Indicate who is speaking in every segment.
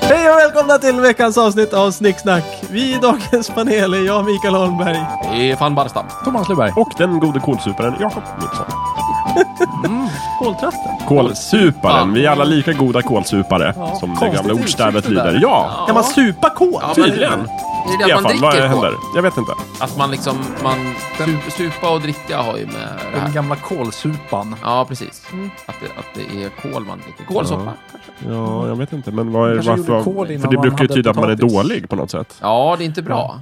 Speaker 1: Hej och välkomna till veckans avsnitt av Snicksnack. Vi i dagens panel är jag, Mikael Holmberg.
Speaker 2: Fan Barstam.
Speaker 3: Thomas Luberg.
Speaker 4: Och den gode kolsuparen Jakob Nilsson.
Speaker 1: Koltrasten.
Speaker 4: Kolsuparen. Vi är alla lika goda kolsupare. som det gamla
Speaker 2: konstigt
Speaker 4: ordstävet
Speaker 2: uttryck det där.
Speaker 4: lyder. Ja,
Speaker 1: Kan man supa kol?
Speaker 2: Ja, men-
Speaker 4: tydligen.
Speaker 2: Det är
Speaker 4: I
Speaker 2: det
Speaker 4: alla
Speaker 2: att man
Speaker 4: fall, vad
Speaker 2: dricker
Speaker 4: händer?
Speaker 2: på.
Speaker 4: Jag vet inte.
Speaker 2: Att man liksom, man, su- supa och dricka har ju med det
Speaker 3: Den
Speaker 2: här.
Speaker 3: gamla kolsupan.
Speaker 2: Ja, precis. Att, det, att det är kol man dricker. Kolsoppa.
Speaker 4: Ja, jag vet inte. Men vad är,
Speaker 3: Kanske
Speaker 4: varför...
Speaker 3: gjorde kol innan
Speaker 4: För det
Speaker 3: man
Speaker 4: brukar ju
Speaker 3: hade
Speaker 4: tyda att man är
Speaker 3: potatis.
Speaker 4: dålig på något sätt.
Speaker 2: Ja, det är inte bra.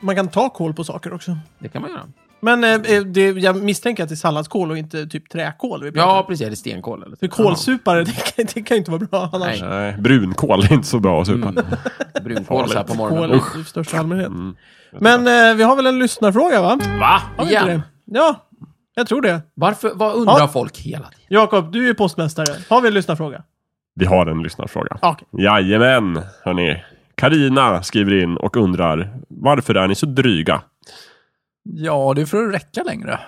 Speaker 1: Man kan ta kol på saker också.
Speaker 2: Det kan man göra.
Speaker 1: Men eh, eh, det, jag misstänker att det är salladskol och inte typ träkol vi pratar
Speaker 2: Ja,
Speaker 1: om.
Speaker 2: precis. Eller stenkol. Eller
Speaker 1: För kolsupare, det kan, det kan ju inte vara bra annars.
Speaker 2: Nej.
Speaker 4: Nej, brunkål är inte så bra att supa.
Speaker 2: Mm. Brunkål så här på morgonen.
Speaker 1: Kol i största allmänhet. Men eh, vi har väl en lyssnarfråga va?
Speaker 4: Va?
Speaker 1: Har vi inte
Speaker 2: Ja.
Speaker 1: det? Ja, jag tror det.
Speaker 2: Varför, vad undrar
Speaker 1: Ja.
Speaker 2: folk hela tiden?
Speaker 1: Jakob, du är ju postmästare. Har vi en lyssnarfråga?
Speaker 4: Vi har en lyssnarfråga.
Speaker 1: Ja, okej.
Speaker 4: Jajamän, hörni. Karina skriver in och undrar varför är ni så dryga?
Speaker 3: Ja, det är för att räcka längre.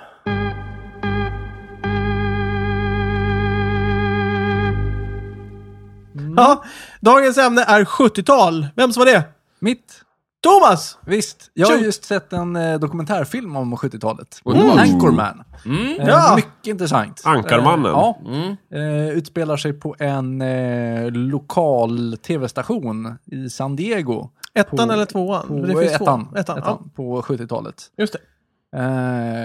Speaker 2: Mm.
Speaker 1: Ja, dagens ämne är 70-tal. Vems var det?
Speaker 3: Mitt.
Speaker 1: Thomas!
Speaker 3: Visst. Jag har
Speaker 1: Shoot.
Speaker 3: just sett en eh, dokumentärfilm om 70-talet.
Speaker 2: Mm.
Speaker 3: Anchorman. Eh,
Speaker 1: Ja.
Speaker 3: Mycket intressant.
Speaker 4: Ankarmannen.
Speaker 3: Eh, ja.
Speaker 2: Mm.
Speaker 3: Eh, utspelar sig på en eh, lokal tv-station i San Diego.
Speaker 1: Ettan
Speaker 3: På-
Speaker 1: eller tvåan?
Speaker 3: På,
Speaker 1: det finns två.
Speaker 3: ettan.
Speaker 1: ettan. Ja,
Speaker 3: På 70-talet.
Speaker 1: just det.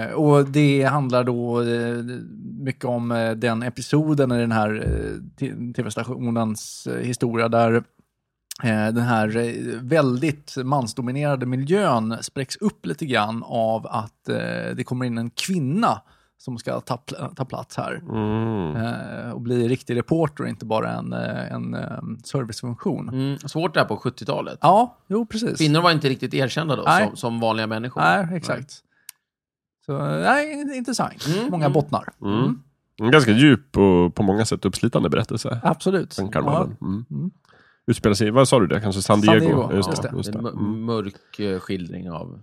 Speaker 3: Eh, och det handlar då eh, mycket om eh, den episoden i den här eh, t- tv-stationens eh, historia där eh, den här eh, väldigt mansdominerade miljön spräcks upp lite grann av att eh, det kommer in en kvinna som ska ta, pl- ta plats här
Speaker 4: Mm.
Speaker 3: eh, och bli riktig reporter och inte bara en, eh, en eh, servicefunktion.
Speaker 2: Mm, svårt det här på 70-talet.
Speaker 3: Ja, jo precis.
Speaker 2: Kvinnor var inte riktigt erkända då,
Speaker 3: Nej.
Speaker 2: som, som vanliga människor.
Speaker 3: Nej, exakt. Så, nej, intressant.
Speaker 2: Mm,
Speaker 3: Många
Speaker 2: mm.
Speaker 3: bottnar. Mm.
Speaker 4: En ganska djup och på många sätt uppslitande berättelse.
Speaker 3: Absolut.
Speaker 4: Ankarmannen. Mm.
Speaker 3: Mm.
Speaker 4: Utspelar sig, vad sa du det? Kanske San
Speaker 3: San
Speaker 4: Diego?
Speaker 3: Diego,
Speaker 4: Just,
Speaker 3: just
Speaker 4: det.
Speaker 3: det.
Speaker 4: Just det.
Speaker 2: En mu-
Speaker 4: Mm.
Speaker 2: mörk eh, skildring av...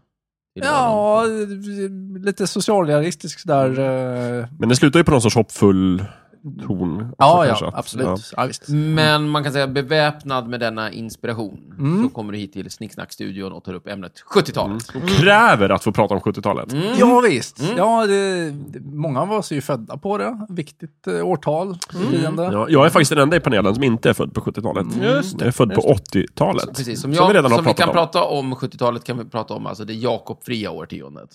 Speaker 3: Ja, lite socialrealistisk där. eh,
Speaker 4: Men det slutar ju på någon sorts hoppfull ton. också
Speaker 3: Ja,
Speaker 4: kanske,
Speaker 3: ja, Mm.
Speaker 4: att-
Speaker 3: absolut.
Speaker 4: ja.
Speaker 3: Ja. visst.
Speaker 4: Mm.
Speaker 2: Men man kan säga beväpnad med denna inspiration
Speaker 3: Mm.
Speaker 2: så kommer du hit till Snicksnackstudion och tar upp ämnet 70-talet.
Speaker 4: Och kräver att få prata om 70-talet.
Speaker 2: Mm.
Speaker 3: Ja, visst. Ja, det, det- många av oss är ju födda på det. Viktigt eh, årtal, fiende.
Speaker 4: Ja, jag är faktiskt den enda i panelen som inte är född på 70-talet.
Speaker 2: Mm.
Speaker 1: Just
Speaker 4: Jag är född på 80-talet.
Speaker 2: Precis, som, jag, som,
Speaker 4: vi redan har
Speaker 2: vi
Speaker 4: pratat
Speaker 2: kan
Speaker 4: om.
Speaker 2: prata om 70-talet kan vi prata om alltså det Jakob-fria årtiondet.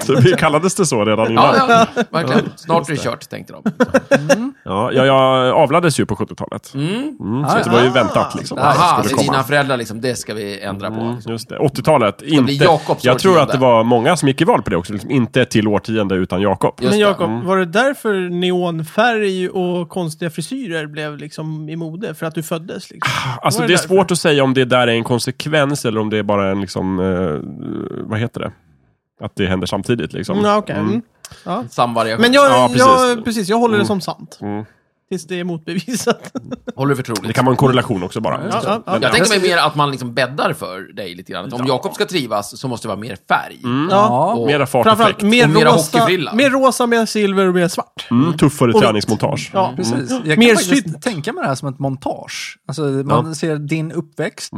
Speaker 4: Så vi kallades det så redan innan. Ja,
Speaker 2: Ja, ja, verkligen. Snart är det kört, tänkte de.
Speaker 4: ja. jag avlades ju på 70-talet. Mm, så
Speaker 3: Ah,
Speaker 4: det var ju väntat liksom. att det
Speaker 2: Aha,
Speaker 4: skulle
Speaker 2: så
Speaker 4: komma.
Speaker 2: dina föräldrar liksom, det ska vi ändra på.
Speaker 4: Mm, Just det. 80-talet. Inte,
Speaker 2: Jakobs
Speaker 4: jag tror att
Speaker 2: årtionde.
Speaker 4: det var många som gick i val på det också. Liksom, inte till årtionde utan Jakob.
Speaker 2: Just
Speaker 1: Men
Speaker 2: det.
Speaker 1: Jakob, var det därför neonfärg och konstiga frisyrer blev liksom i mode? För att du föddes liksom?
Speaker 4: Alltså
Speaker 1: Var det
Speaker 4: det, är
Speaker 1: därför?
Speaker 4: svårt att säga om det där är en konsekvens eller om det är bara en liksom, eh, vad heter det? Att det händer samtidigt liksom.
Speaker 1: Mm, ja, okej.
Speaker 4: Mm.
Speaker 1: Mm.
Speaker 2: Samvariation.
Speaker 1: Men jag,
Speaker 4: Ja,
Speaker 1: precis.
Speaker 4: precis.
Speaker 1: jag, precis, jag håller det som sant.
Speaker 4: Mm.
Speaker 1: Tills det är motbevisat.
Speaker 2: Håller du för troligt?
Speaker 4: Det kan vara en korrelation också bara.
Speaker 1: Ja, ja, ja.
Speaker 2: Jag tänker mig mer att man liksom bäddar för dig lite grann. Att om Jakob ska trivas så måste det vara mer färg.
Speaker 4: Mm.
Speaker 1: Ja.
Speaker 3: Mm.
Speaker 2: Och-
Speaker 4: Mera fart och
Speaker 1: Framförallt
Speaker 4: fläkt.
Speaker 1: mer
Speaker 2: Och mera
Speaker 1: rosa,
Speaker 2: hockeyfrilla.
Speaker 1: mer rosa, mer silver och mer svart.
Speaker 4: Mm, tuffare
Speaker 1: Och-
Speaker 4: träningsmontage.
Speaker 1: Ja, Mm.
Speaker 3: Precis. Jag kan
Speaker 1: Mer
Speaker 3: faktiskt
Speaker 1: sydd.
Speaker 3: tänka mig det här som ett montage. Alltså, man ser din uppväxt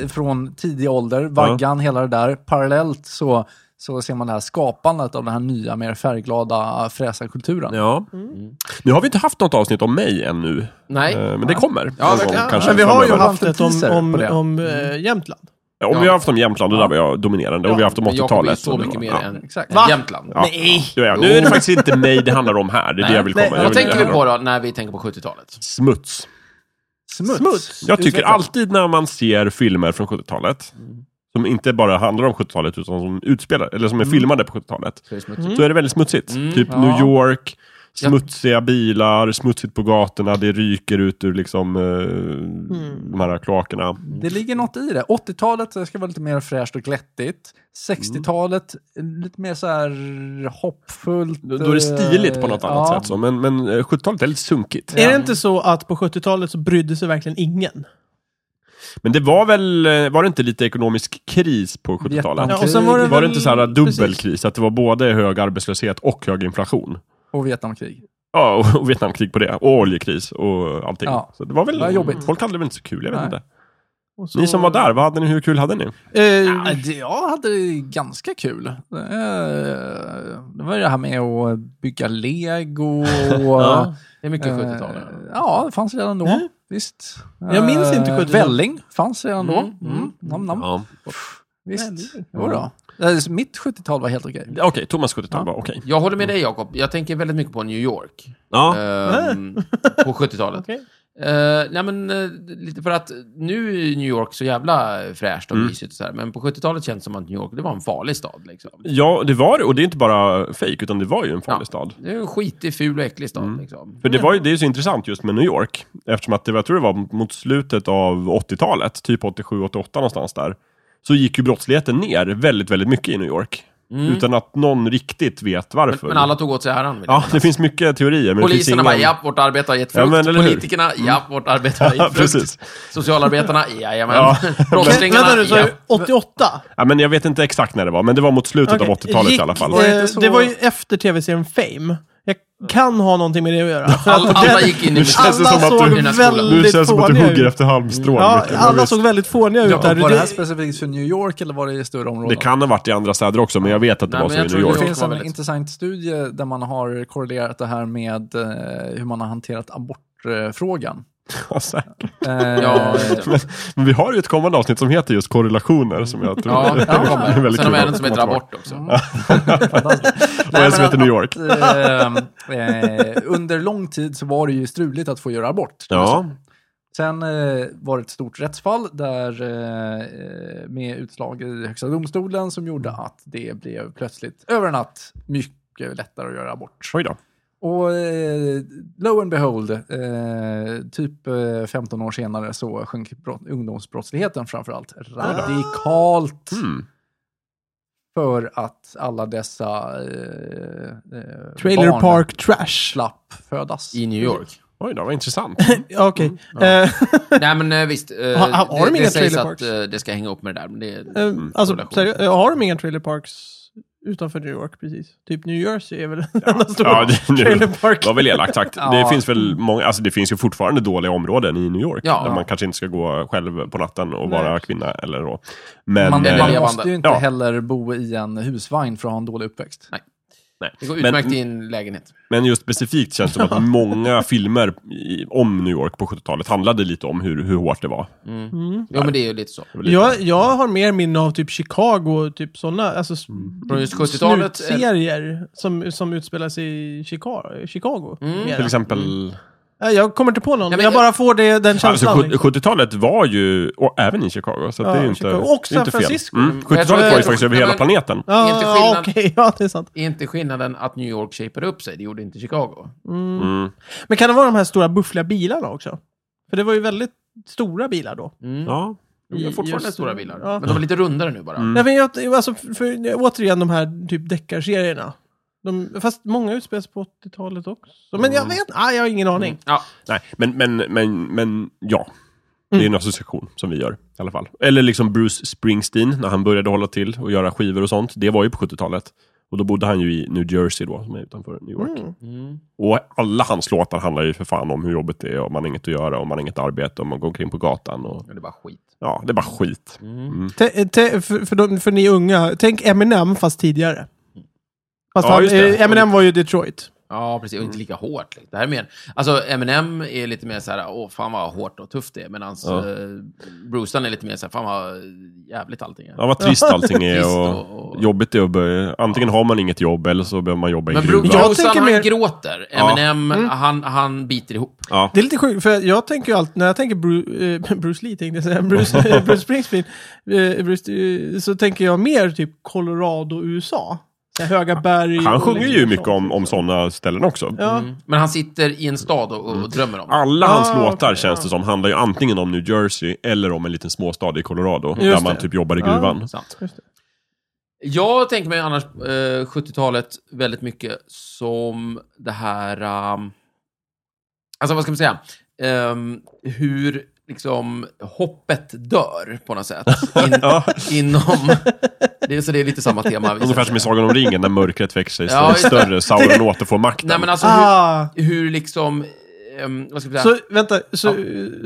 Speaker 3: eh, från tidig ålder, vaggan, hela det där. Parallellt så, så ser man det här skapandet av den här nya, mer färgglada fräsarkulturen.
Speaker 4: Ja. Mm. Nu har vi inte haft något avsnitt om mig ännu.
Speaker 2: Nej.
Speaker 4: Eh, Men det kommer.
Speaker 2: Ja,
Speaker 4: någon
Speaker 2: verkligen. Ja,
Speaker 4: kanske
Speaker 1: Men vi har ju
Speaker 4: framöver.
Speaker 1: haft
Speaker 3: en
Speaker 1: ett om,
Speaker 3: teaser
Speaker 1: om,
Speaker 3: på det.
Speaker 1: om eh, Jämtland.
Speaker 4: Ja, Om vi har haft om Jämtland, det där var jag dominerande. Och vi har haft om
Speaker 2: Men Jakob är ju
Speaker 4: 80-talet.
Speaker 2: så mycket mer
Speaker 4: Ja.
Speaker 2: än
Speaker 3: Exakt.
Speaker 2: än Jämtland.
Speaker 4: Ja.
Speaker 1: Nej!
Speaker 4: Ja, ja. Nu är det faktiskt inte mig det handlar om här. Det är det jag vill komma
Speaker 1: Nej.
Speaker 4: jag
Speaker 2: Vad
Speaker 4: vill-
Speaker 2: tänker
Speaker 4: det
Speaker 2: vi
Speaker 4: här
Speaker 2: på då när vi tänker på 70-talet?
Speaker 4: Smuts.
Speaker 3: Smuts.
Speaker 1: Smuts.
Speaker 4: Jag tycker
Speaker 3: Utveckla.
Speaker 4: alltid när man ser filmer från 70-talet, som inte bara handlar om 70-talet utan som utspelar, eller som är filmade på 70-talet,
Speaker 2: För det är smutsigt.
Speaker 4: så är det väldigt smutsigt. Typ
Speaker 3: Mm. Ja.
Speaker 4: New York, smutsiga bilar, smutsigt på gatorna, det ryker ut ur liksom eh,
Speaker 3: Mm.
Speaker 4: de här kloakerna.
Speaker 3: Det ligger något i det. 80-talet eh, ska vara lite mer fräscht och glättigt. 60-talet eh, lite mer så här hoppfullt.
Speaker 4: Då då är det stiligt på något
Speaker 3: eh,
Speaker 4: annat
Speaker 3: ja.
Speaker 4: sätt. Så. Men, men eh, 70-talet är lite sunkigt.
Speaker 1: Är det inte så att på 70-talet så brydde sig verkligen ingen?
Speaker 4: Men det var väl, eh, var det inte lite ekonomisk kris på 70-talet?
Speaker 3: Vietnam.
Speaker 1: och sen var det,
Speaker 4: Var
Speaker 1: väl-
Speaker 3: Mm,
Speaker 4: det inte så här dubbel
Speaker 1: precis.
Speaker 4: kris? Att det var både hög arbetslöshet och hög inflation?
Speaker 3: Och Vietnamkrig.
Speaker 4: Ja, och- och Vietnamkrig på det. Och oljekris och allting.
Speaker 3: Ja.
Speaker 4: Så det var väl
Speaker 3: Det var jobbigt.
Speaker 4: Folk hade det väl inte så kul, jag vet
Speaker 3: Nej.
Speaker 4: inte.
Speaker 1: Och så-
Speaker 4: Ni som var där, vad hade ni, hur kul hade ni?
Speaker 1: Eh,
Speaker 3: Ja, det- Jag hade det ganska kul. Eh, Det var ju det här med att bygga lego.
Speaker 2: Ja, det är mycket
Speaker 3: Eh,
Speaker 2: 70-tal.
Speaker 3: Ja, det fanns redan då.
Speaker 1: Mm.
Speaker 3: Visst.
Speaker 1: Jag minns
Speaker 3: Eh,
Speaker 1: inte 70-tal.
Speaker 3: Välling fanns redan då. Mm.
Speaker 2: Mm, mm.
Speaker 3: Nam, nam.
Speaker 4: Ja.
Speaker 3: Visst. Jo då. Eh, så Mitt 70-tal var helt okej.
Speaker 4: Okej, Thomas 70-tal var okej.
Speaker 2: Jag håller med dig, Jakob. Jag tänker väldigt mycket på New York.
Speaker 4: Ja.
Speaker 2: Ehm, på 70-talet.
Speaker 1: okej.
Speaker 2: Eh, nej men eh, lite för att nu är New York så jävla fräscht och
Speaker 4: Mm.
Speaker 2: mysigt och så här, men på 70-talet känns det som att New York, det var en farlig stad liksom.
Speaker 4: ja, det var det. Och det är inte bara fejk, utan det var ju en farlig
Speaker 2: Ja.
Speaker 4: stad.
Speaker 2: Det är en skitig, ful och äcklig stad
Speaker 4: Mm.
Speaker 2: liksom.
Speaker 4: För det, var ju, det är ju så intressant just med New York. Eftersom att det, var- jag tror det var mot slutet av 80-talet, typ 87-88 någonstans där. Så gick ju brottsligheten ner väldigt, väldigt mycket i New York. Utan att någon riktigt vet
Speaker 2: Men,
Speaker 4: varför.
Speaker 2: men alla tog åt sig äran. vill jag
Speaker 4: Ja, det finns mycket teorier. Men det finns
Speaker 2: Poliserna
Speaker 4: ingen...
Speaker 2: bara, ja, vårt arbete har gett frukt.
Speaker 4: Ja, men eller hur?
Speaker 2: Politikerna, ja, vårt arbete har
Speaker 4: Ja,
Speaker 2: gett
Speaker 4: precis.
Speaker 2: frukt. Socialarbetarna, jajamän.
Speaker 4: Ja.
Speaker 2: Brottslingarna,
Speaker 1: Vänta nu, så
Speaker 2: ja.
Speaker 1: 88?
Speaker 4: Ja, men jag vet inte exakt när det var, men det var mot slutet
Speaker 1: Okej.
Speaker 4: Typ av 80-talet
Speaker 1: Gick,
Speaker 4: i alla fall.
Speaker 1: eh,
Speaker 3: Var det inte så-
Speaker 1: Det var ju efter tv-serien Fame. Jag kan ha någonting med det att göra. För
Speaker 2: All,
Speaker 1: att
Speaker 2: alla
Speaker 1: den-
Speaker 2: gick in i
Speaker 4: känns det
Speaker 1: alla
Speaker 4: som att
Speaker 1: såg
Speaker 4: du-
Speaker 2: i den här skolan.
Speaker 1: väldigt
Speaker 4: Nu känns det som att du
Speaker 1: fåniga
Speaker 4: hugger
Speaker 1: ut.
Speaker 4: efter halmstrån.
Speaker 1: Ja,
Speaker 4: mycket, men
Speaker 1: alla
Speaker 4: visst.
Speaker 1: såg väldigt fåniga ut där.
Speaker 3: Var det här
Speaker 1: Det,
Speaker 3: specifikt för New York eller var det i större områden?
Speaker 4: det kan ha varit i andra städer också, men jag vet att det
Speaker 2: Nej, men
Speaker 4: var så i
Speaker 2: jag
Speaker 4: New
Speaker 2: tror
Speaker 4: York.
Speaker 2: New
Speaker 3: Det
Speaker 2: York
Speaker 3: finns
Speaker 2: var
Speaker 3: en
Speaker 2: väldigt-
Speaker 3: intressant studie där man har korrelerat det här med eh, hur man har hanterat abortfrågan.
Speaker 4: Ja, säkert.
Speaker 3: Eh,
Speaker 2: Ja,
Speaker 4: men, men vi har ju ett kommande avsnitt som heter just korrelationer, som jag tror
Speaker 2: ja,
Speaker 4: är
Speaker 2: de kommer.
Speaker 4: väldigt
Speaker 2: Sen har
Speaker 4: kul
Speaker 2: vi en som
Speaker 4: att
Speaker 2: heter
Speaker 4: komma tillbaka.
Speaker 2: abort också.
Speaker 4: Och en som heter New York.
Speaker 3: Eh, eh, under lång tid så var det ju struligt att få göra abort.
Speaker 4: Ja,
Speaker 3: Sen eh, var det ett stort rättsfall där, eh, med utslag i Högsta domstolen som gjorde att det blev plötsligt över en natt mycket lättare att göra abort.
Speaker 4: oj då.
Speaker 3: Och eh, lo and behold, eh, typ eh, 15 år senare så sjönk brott, ungdomsbrottsligheten framförallt radikalt.
Speaker 4: Mm.
Speaker 3: För att alla dessa eh, eh,
Speaker 1: Trailer
Speaker 3: barn
Speaker 1: Park Trash.
Speaker 3: slapp födas.
Speaker 2: I New York.
Speaker 4: Oj då, vad intressant.
Speaker 3: Mm.
Speaker 1: Ja, Okej. Eh,
Speaker 2: Nej men eh, visst, eh,
Speaker 1: Har- har de
Speaker 2: det,
Speaker 1: inga
Speaker 2: det sägs
Speaker 1: trailer
Speaker 2: att
Speaker 1: parks?
Speaker 2: eh, det ska hänga upp med det där. Men det,
Speaker 1: eh,
Speaker 3: Mm.
Speaker 1: alltså,
Speaker 2: Korrelation.
Speaker 1: seriöst, eh, har de inga trailer parks utanför New York precis? Typ New Jersey är väl den enda stora
Speaker 4: Ja, det, nu,
Speaker 1: trailer park.
Speaker 4: det var väl elakt sagt. Det
Speaker 3: Ja.
Speaker 4: finns väl många, alltså det finns ju fortfarande dåliga områden i New York.
Speaker 2: Ja.
Speaker 4: där man kanske inte ska gå själv på natten och
Speaker 1: Nej.
Speaker 4: vara kvinna eller så. Men,
Speaker 3: Man,
Speaker 2: eh,
Speaker 3: man
Speaker 2: levande.
Speaker 3: måste ju inte
Speaker 4: Ja.
Speaker 3: heller bo i en husvagn för att ha en dålig uppväxt.
Speaker 4: nej.
Speaker 2: det går
Speaker 4: Men-
Speaker 2: utmärkt i en lägenhet.
Speaker 4: Men just specifikt känns det som att många filmer i, om New York på 70-talet handlade lite om hur, hur hårt det var.
Speaker 2: Jo men det är ju lite så.
Speaker 4: Det var lite-
Speaker 1: Jag, jag har mer minne av typ Chicago, typ sådana, alltså s-
Speaker 4: Mm.
Speaker 2: Från just 70-talet. eh,
Speaker 1: snutserier som, som utspelar sig i Chicago. Chicago
Speaker 3: Mm.
Speaker 1: mera.
Speaker 4: Till
Speaker 1: Mm.
Speaker 4: exempel,
Speaker 1: Nej, Eh, Jag kommer inte på någon,
Speaker 2: Nej, men-
Speaker 1: jag bara får det, den
Speaker 4: alltså,
Speaker 1: känslan.
Speaker 4: sjut- 70-talet var ju, och även i Chicago, så att
Speaker 1: Ja,
Speaker 4: det är ju inte,
Speaker 1: Chicago. Och
Speaker 4: det är inte
Speaker 1: San
Speaker 4: fel.
Speaker 1: Francisco.
Speaker 4: Mm.
Speaker 2: Mm.
Speaker 4: 70-talet
Speaker 2: Jag tror-
Speaker 4: var ju
Speaker 2: jag
Speaker 4: faktiskt
Speaker 2: tror-
Speaker 4: över hela
Speaker 2: men-
Speaker 4: planeten.
Speaker 1: ja,
Speaker 2: Inte
Speaker 1: ja,
Speaker 2: skillnad.
Speaker 1: okej, ja, det är sant.
Speaker 2: Är inte skillnaden att New York shapeade upp sig? Det gjorde inte Chicago.
Speaker 4: Mm.
Speaker 1: Men kan det vara de här stora buffliga bilarna också? För det var ju väldigt stora bilar då.
Speaker 2: Mm.
Speaker 4: Ja.
Speaker 2: De är
Speaker 1: I-
Speaker 2: fortfarande
Speaker 1: just-
Speaker 2: stora bilar.
Speaker 1: ja.
Speaker 2: Men de är lite rundare nu bara.
Speaker 4: Mm.
Speaker 1: Nej, men jag, alltså, för, för, återigen de här typ deckarserierna. De, fast många utspelas på 80-talet också. Men
Speaker 4: Mm.
Speaker 1: jag vet ah, jag har ingen aning.
Speaker 2: Ja,
Speaker 4: Nej, men, men, men, men ja. Det är en association som vi gör i alla fall. Eller liksom Bruce Springsteen, när han började hålla till och göra skivor och sånt. Det var ju på 70-talet. Och då bodde han ju i New Jersey då, som är utanför New York.
Speaker 2: Mm.
Speaker 4: Och alla hans låtar handlar ju för fan om hur jobbigt det är, om man har inget att göra, om man har inget arbete, om man går omkring på gatan. Och,
Speaker 2: men det är bara skit.
Speaker 4: ja, det är bara skit.
Speaker 2: Mm.
Speaker 4: Mm.
Speaker 1: Te, te, för, för, de, för ni unga, tänk Eminem fast tidigare. Fast
Speaker 4: Ja,
Speaker 1: han,
Speaker 4: just det.
Speaker 1: eh, Eminem var ju i Detroit.
Speaker 2: Ja, precis.
Speaker 4: Mm.
Speaker 2: Och inte lika hårt. liksom. Det här är mer... Alltså, Eminem är lite mer så här, åh, fan vad hårt och tufft det är. Medan
Speaker 4: Ja.
Speaker 2: eh, Brucean är lite mer så här, fan vad jävligt allting är.
Speaker 4: Ja, vad trist allting är
Speaker 2: Trist
Speaker 4: och,
Speaker 2: och- och-
Speaker 4: jobbigt det är att börja. Antingen har man inget jobb eller så behöver man jobba i en
Speaker 2: Men Bru-
Speaker 4: gruva.
Speaker 1: Jag
Speaker 2: Brucean,
Speaker 1: tänker
Speaker 2: han
Speaker 1: mer- Mm.
Speaker 2: gråter.
Speaker 4: Ja.
Speaker 2: Eminem, han, han biter ihop.
Speaker 4: Ja.
Speaker 1: Det är lite sjukt, för jag tänker ju alltid, när jag tänker Bruce, eh, Bruce Lee tänkte jag säga, Bruce, eh, Bruce Springsteen, eh, Bruce, eh, så tänker jag mer typ Colorado, USA. Så här höga berg.
Speaker 4: Han
Speaker 1: och
Speaker 4: sjunger
Speaker 1: liksom
Speaker 4: ju
Speaker 1: sånt.
Speaker 4: mycket om, om sådana ställen också.
Speaker 1: Ja.
Speaker 2: Mm. Men han sitter i en stad och, och
Speaker 4: Mm.
Speaker 2: drömmer om det.
Speaker 4: Alla hans
Speaker 1: Ah,
Speaker 4: låtar
Speaker 1: okej,
Speaker 4: känns det som handlar ju antingen om New Jersey eller om en liten småstad i Colorado där man
Speaker 1: det.
Speaker 4: typ jobbar i gruvan.
Speaker 2: Sant.
Speaker 1: Just det.
Speaker 2: Jag tänker mig annars eh, 70-talet väldigt mycket som um, det här... ehm, alltså vad ska man säga? Ehm, hur liksom hoppet dör på något sätt. In, Inom... Det, är- så det är lite samma tema. visar
Speaker 4: Ungefär
Speaker 2: det
Speaker 4: som i
Speaker 2: sig.
Speaker 4: Sagan om ringen när mörkret växer sig
Speaker 2: Ja, just det.
Speaker 4: större, Sauron återfår makten.
Speaker 2: Nej men alltså hur,
Speaker 1: Ah,
Speaker 2: hur liksom... ehm, vad ska vi säga?
Speaker 1: så vänta, så,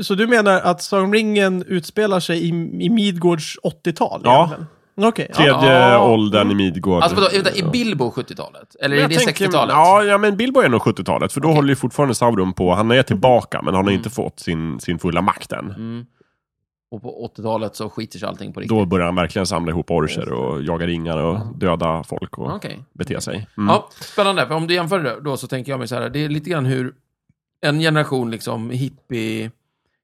Speaker 1: så du menar att Sagan om ringen utspelar sig i, i Midgårds 80-tal?
Speaker 4: Ja.
Speaker 1: egentligen? Okej. ja.
Speaker 4: Tredje
Speaker 2: Ja.
Speaker 4: åldern i Midgård.
Speaker 2: alltså vadå, vänta, är Bilbo 70-talet? Eller
Speaker 4: Men
Speaker 2: är
Speaker 4: jag
Speaker 2: det
Speaker 4: tänker-
Speaker 2: 60-talet?
Speaker 4: Ja, ja, men Bilbo är nog 70-talet, för då håller ju fortfarande Sauron på. Han är tillbaka, men han
Speaker 2: Mm.
Speaker 4: har inte fått sin, sin fulla makt än.
Speaker 2: Och på 80-talet så skiter sig allting på riktigt.
Speaker 4: Då börjar han verkligen samla ihop orcher och jaga ringar och döda folk och
Speaker 2: Mm. Okej.
Speaker 4: bete sig. Mm.
Speaker 2: Ja, spännande. För om du jämför det då så tänker jag mig så här, det är lite grann hur en generation liksom hippie,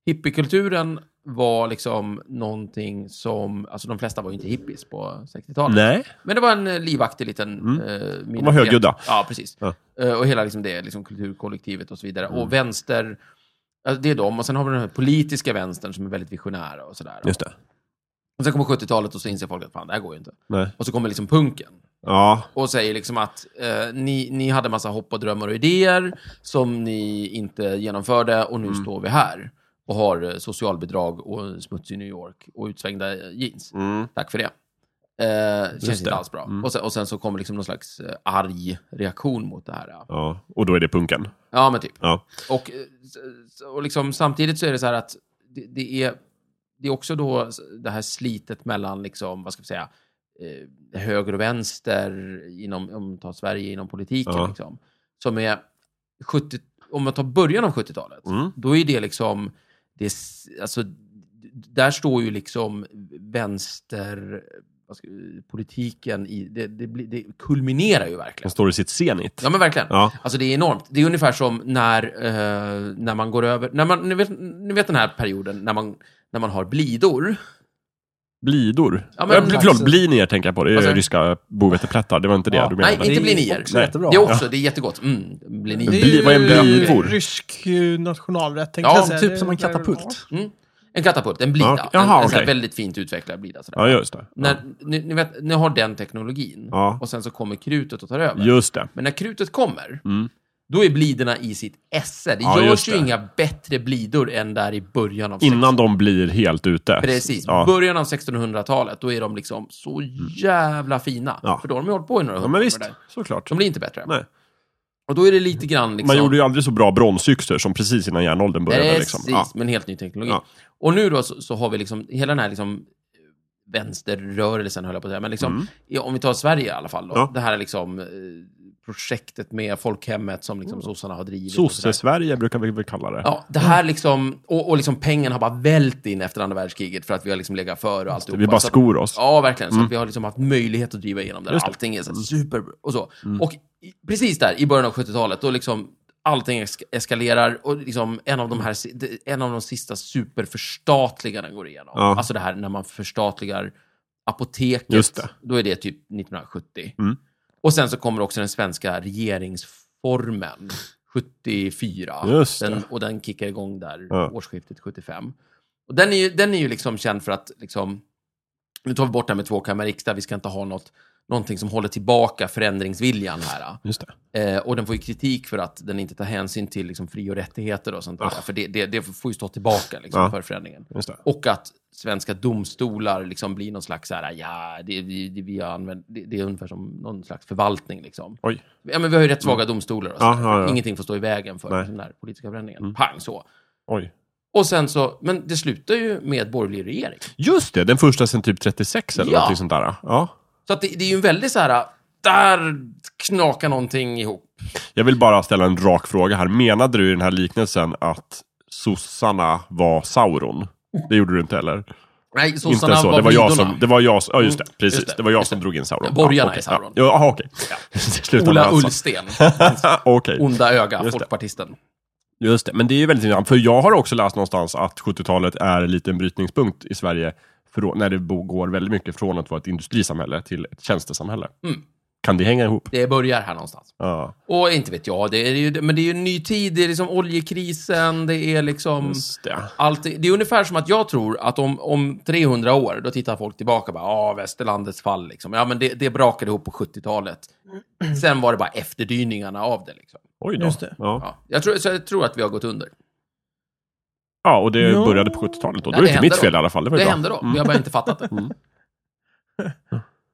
Speaker 2: hippiekulturen var liksom någonting som, alltså de flesta var ju inte hippies på 60-talet.
Speaker 4: Nej.
Speaker 2: Men det var en eh, livaktig liten
Speaker 4: Mm.
Speaker 2: eh, minoritet.
Speaker 4: De var högljudda.
Speaker 2: Ja, precis.
Speaker 4: Ja. Mm.
Speaker 2: Eh, och hela liksom det liksom kulturkollektivet och så vidare. Och vänster, alltså det är de. Och sen har vi den här politiska vänstern som är väldigt visionära och sådär.
Speaker 4: Just det.
Speaker 2: Och sen kommer 70-talet och så inser folk att fan, det här går ju inte.
Speaker 4: Nej.
Speaker 2: Och så kommer liksom punken
Speaker 4: Ja,
Speaker 2: och säger liksom att eh, ni, ni hade massa hopp och drömmar och idéer som ni inte genomförde och nu
Speaker 4: Mm.
Speaker 2: står vi här och har eh, socialbidrag och smutsig New York och utsvängda eh, jeans.
Speaker 4: Mm.
Speaker 2: Tack för det. Eh, känns inte
Speaker 4: det. Mm.
Speaker 2: alls bra. Och, sen, och sen så kommer liksom någon slags eh, arg reaktion mot det här. Ja,
Speaker 4: Ja, och då är det punken.
Speaker 2: ja men typ.
Speaker 4: Ja.
Speaker 2: Och, eh, s- och liksom, samtidigt så är det så här att det, det, är, det är också då s- det här slitet mellan, liksom, vad ska vi säga, eh, höger och vänster inom, om vi tar Sverige, inom politiken.
Speaker 4: Ja.
Speaker 2: Liksom, som är 70, om man tar början av 70-talet,
Speaker 4: Mm.
Speaker 2: då är det liksom, det är, s- alltså, d- där står ju liksom vänster, vad ska, politiken i, det, det, blir- det kulminerar ju verkligen.
Speaker 4: Den står i sitt zenit.
Speaker 2: Ja men verkligen.
Speaker 4: Ja.
Speaker 2: Alltså det är enormt. Det är ungefär som när, eh, när man går över, när man, ni, vet, ni vet den här perioden när man, när man har blidor.
Speaker 4: Blidor.
Speaker 2: Ja,
Speaker 4: Ja,
Speaker 2: men-
Speaker 4: men, förlåt, blinier tänker jag på. Det är
Speaker 2: Vad sa
Speaker 4: ju
Speaker 2: du?
Speaker 4: ryska boveteplättar. Det var inte det
Speaker 3: Ja.
Speaker 4: du
Speaker 2: Nej,
Speaker 4: menade.
Speaker 2: inte blinier.
Speaker 3: också jättebra.
Speaker 2: Det är också, det är jättegott. Mm, blinier.
Speaker 1: Det
Speaker 4: Bli- vad är en blivor?
Speaker 1: rysk eh, nationalrätt, tänkte
Speaker 2: Ja,
Speaker 1: jag säga.
Speaker 3: Typ
Speaker 1: Det-
Speaker 3: som en
Speaker 1: där-
Speaker 3: katapult.
Speaker 2: Mm. En katapult, en blida.
Speaker 4: Ja, okej. Jaha,
Speaker 2: en en sån här
Speaker 4: okej.
Speaker 2: väldigt fint utvecklad blida. Sådär.
Speaker 4: Ja, just det.
Speaker 2: När, ni, ni, vet, ni har den teknologin
Speaker 4: Ja.
Speaker 2: och sen så kommer krutet och tar över.
Speaker 4: Just det.
Speaker 2: Men när krutet kommer, då är bliderna i sitt esse. Det
Speaker 4: Mm. Ja,
Speaker 2: görs
Speaker 4: just
Speaker 2: ju
Speaker 4: det.
Speaker 2: inga bättre blidor än där i början av
Speaker 4: Innan de blir helt ute.
Speaker 2: Precis.
Speaker 4: Ja. Mm.
Speaker 2: Början av 1600-talet, då är de liksom så jävla fina.
Speaker 4: Ja.
Speaker 2: För då har de ju hållit på i några
Speaker 4: ja,
Speaker 2: hundra
Speaker 4: men
Speaker 2: år
Speaker 4: visst.
Speaker 2: där.
Speaker 4: Såklart.
Speaker 2: De blir inte bättre.
Speaker 4: Nej.
Speaker 2: Och då är det lite grann liksom...
Speaker 4: Man gjorde ju aldrig så bra bronsyxor som precis innan järnåldern började.
Speaker 2: Precis,
Speaker 4: Liksom. Ja.
Speaker 2: men helt ny teknologi.
Speaker 4: Ja.
Speaker 2: Och nu då så, så har vi liksom hela den här liksom vänsterrörelsen, höll jag på att säga. Men liksom, i- om vi tar Sverige i alla fall då.
Speaker 4: Mm. Ja.
Speaker 2: Det här liksom eh, projektet med folkhemmet som
Speaker 4: Mm.
Speaker 2: liksom sossarna har drivit. och sådär.
Speaker 4: Sosse-Sverige brukar vi väl kalla det.
Speaker 2: Ja, det här liksom, och, och liksom pengen har bara vält in efter andra världskriget för att vi har liksom legat före och alltihopa.
Speaker 4: vi bara
Speaker 2: Så att-
Speaker 4: skor oss. Mm.
Speaker 2: Ja, verkligen. Så att vi har liksom haft möjlighet att driva igenom det. här. Allting är så här super och så.
Speaker 4: Mm.
Speaker 2: Och i, precis där, i början av 70-talet, då liksom allting esk- eskalerar och liksom en av de här, si- de- en av de sista superförstatliganden går igenom.
Speaker 4: Ja.
Speaker 2: Alltså det här när man förstatligar apoteket,
Speaker 4: Just det.
Speaker 2: då är det typ 1970. Och sen så kommer också den svenska regeringsformen 74.
Speaker 4: Just det.
Speaker 2: den, och den kickar igång där
Speaker 4: Ja.
Speaker 2: årsskiftet 75. Och den är ju, den är ju liksom känd för att liksom, nu tar vi bort det här med tvåkammarriksdag, vi ska inte ha något, någonting som håller tillbaka förändringsviljan här.
Speaker 4: Just det.
Speaker 2: Eh, och den får ju kritik för att den inte tar hänsyn till liksom, fri och rättigheter och sånt där.
Speaker 4: Ja.
Speaker 2: För det, det, det får ju stå tillbaka liksom,
Speaker 4: Ah. Ja.
Speaker 2: för förändringen.
Speaker 4: Just det.
Speaker 2: Och att svenska domstolar liksom blir någon slags så här, ja, det, vi, det, vi har använt, det, det är ungefär som någon slags förvaltning. Liksom.
Speaker 4: Oj.
Speaker 2: Ja, men vi har ju rätt svaga domstolar och så
Speaker 4: Mm. Ja,
Speaker 2: där.
Speaker 4: ja, ja.
Speaker 2: Ingenting får stå i vägen för
Speaker 4: Nej. Mm.
Speaker 2: den här politiska förändringen. Pang så.
Speaker 4: Oj.
Speaker 2: Och sen så, men det slutar ju med borgerlig regering.
Speaker 4: Just det, den första sen typ 36 eller
Speaker 2: Ja.
Speaker 4: någonting sånt där. Ja.
Speaker 2: Så att det, det är ju en väldigt så här, där knakar någonting ihop.
Speaker 4: Jag vill bara ställa en rak fråga här. Menade du i den här liknelsen att sossarna var Sauron? Det gjorde du inte heller?
Speaker 2: Nej,
Speaker 4: Inte
Speaker 2: sossarna
Speaker 4: ens så.
Speaker 2: var
Speaker 4: Det var jag
Speaker 2: blidorna.
Speaker 4: som... Det var jag, som- ja, just det. Precis.
Speaker 2: just det.
Speaker 4: det. var jag
Speaker 2: Just
Speaker 4: som drog in Sauron.
Speaker 2: Borgarna
Speaker 4: ja, okej.
Speaker 2: är Sauron.
Speaker 4: Ja, jaha, okej. Sluta
Speaker 2: Ola
Speaker 4: med alltså.
Speaker 2: Ullsten,
Speaker 4: Okej.
Speaker 2: onda öga,
Speaker 4: det.
Speaker 2: folkpartisten.
Speaker 4: Just det. Men det är ju väldigt intressant. För jag har också läst någonstans att 70-talet är lite en brytningspunkt i Sverige. Från, när det bo- går väldigt mycket från att vara ett industrisamhälle till ett tjänstesamhälle.
Speaker 2: Mm.
Speaker 4: Kan det hänga ihop?
Speaker 2: Det börjar här någonstans.
Speaker 4: Ja.
Speaker 2: Och inte vet jag, det är ju, men det är ju en ny tid, det är liksom oljekrisen, det är liksom...
Speaker 4: Just det.
Speaker 2: Allt, det är ungefär som att jag tror att om, om 300 år, då tittar folk tillbaka och bara, ja, ah, västerlandets fall liksom. Ja, men det, det brakade ihop på 70-talet. Sen var det bara efterdyningarna av det liksom.
Speaker 4: Oj då.
Speaker 1: Just det.
Speaker 4: Ja.
Speaker 2: Ja. Jag, tror, så jag tror att vi har gått under.
Speaker 4: Ja, och det
Speaker 1: Ja.
Speaker 4: började på 70-talet.
Speaker 2: Nej,
Speaker 4: Då, då är
Speaker 2: det
Speaker 4: det inte
Speaker 2: hände
Speaker 4: mitt
Speaker 2: då.
Speaker 4: fel i alla fall. Det var
Speaker 2: Det
Speaker 4: ju bra. Mm.
Speaker 2: hände då. Vi har bara inte fattat det.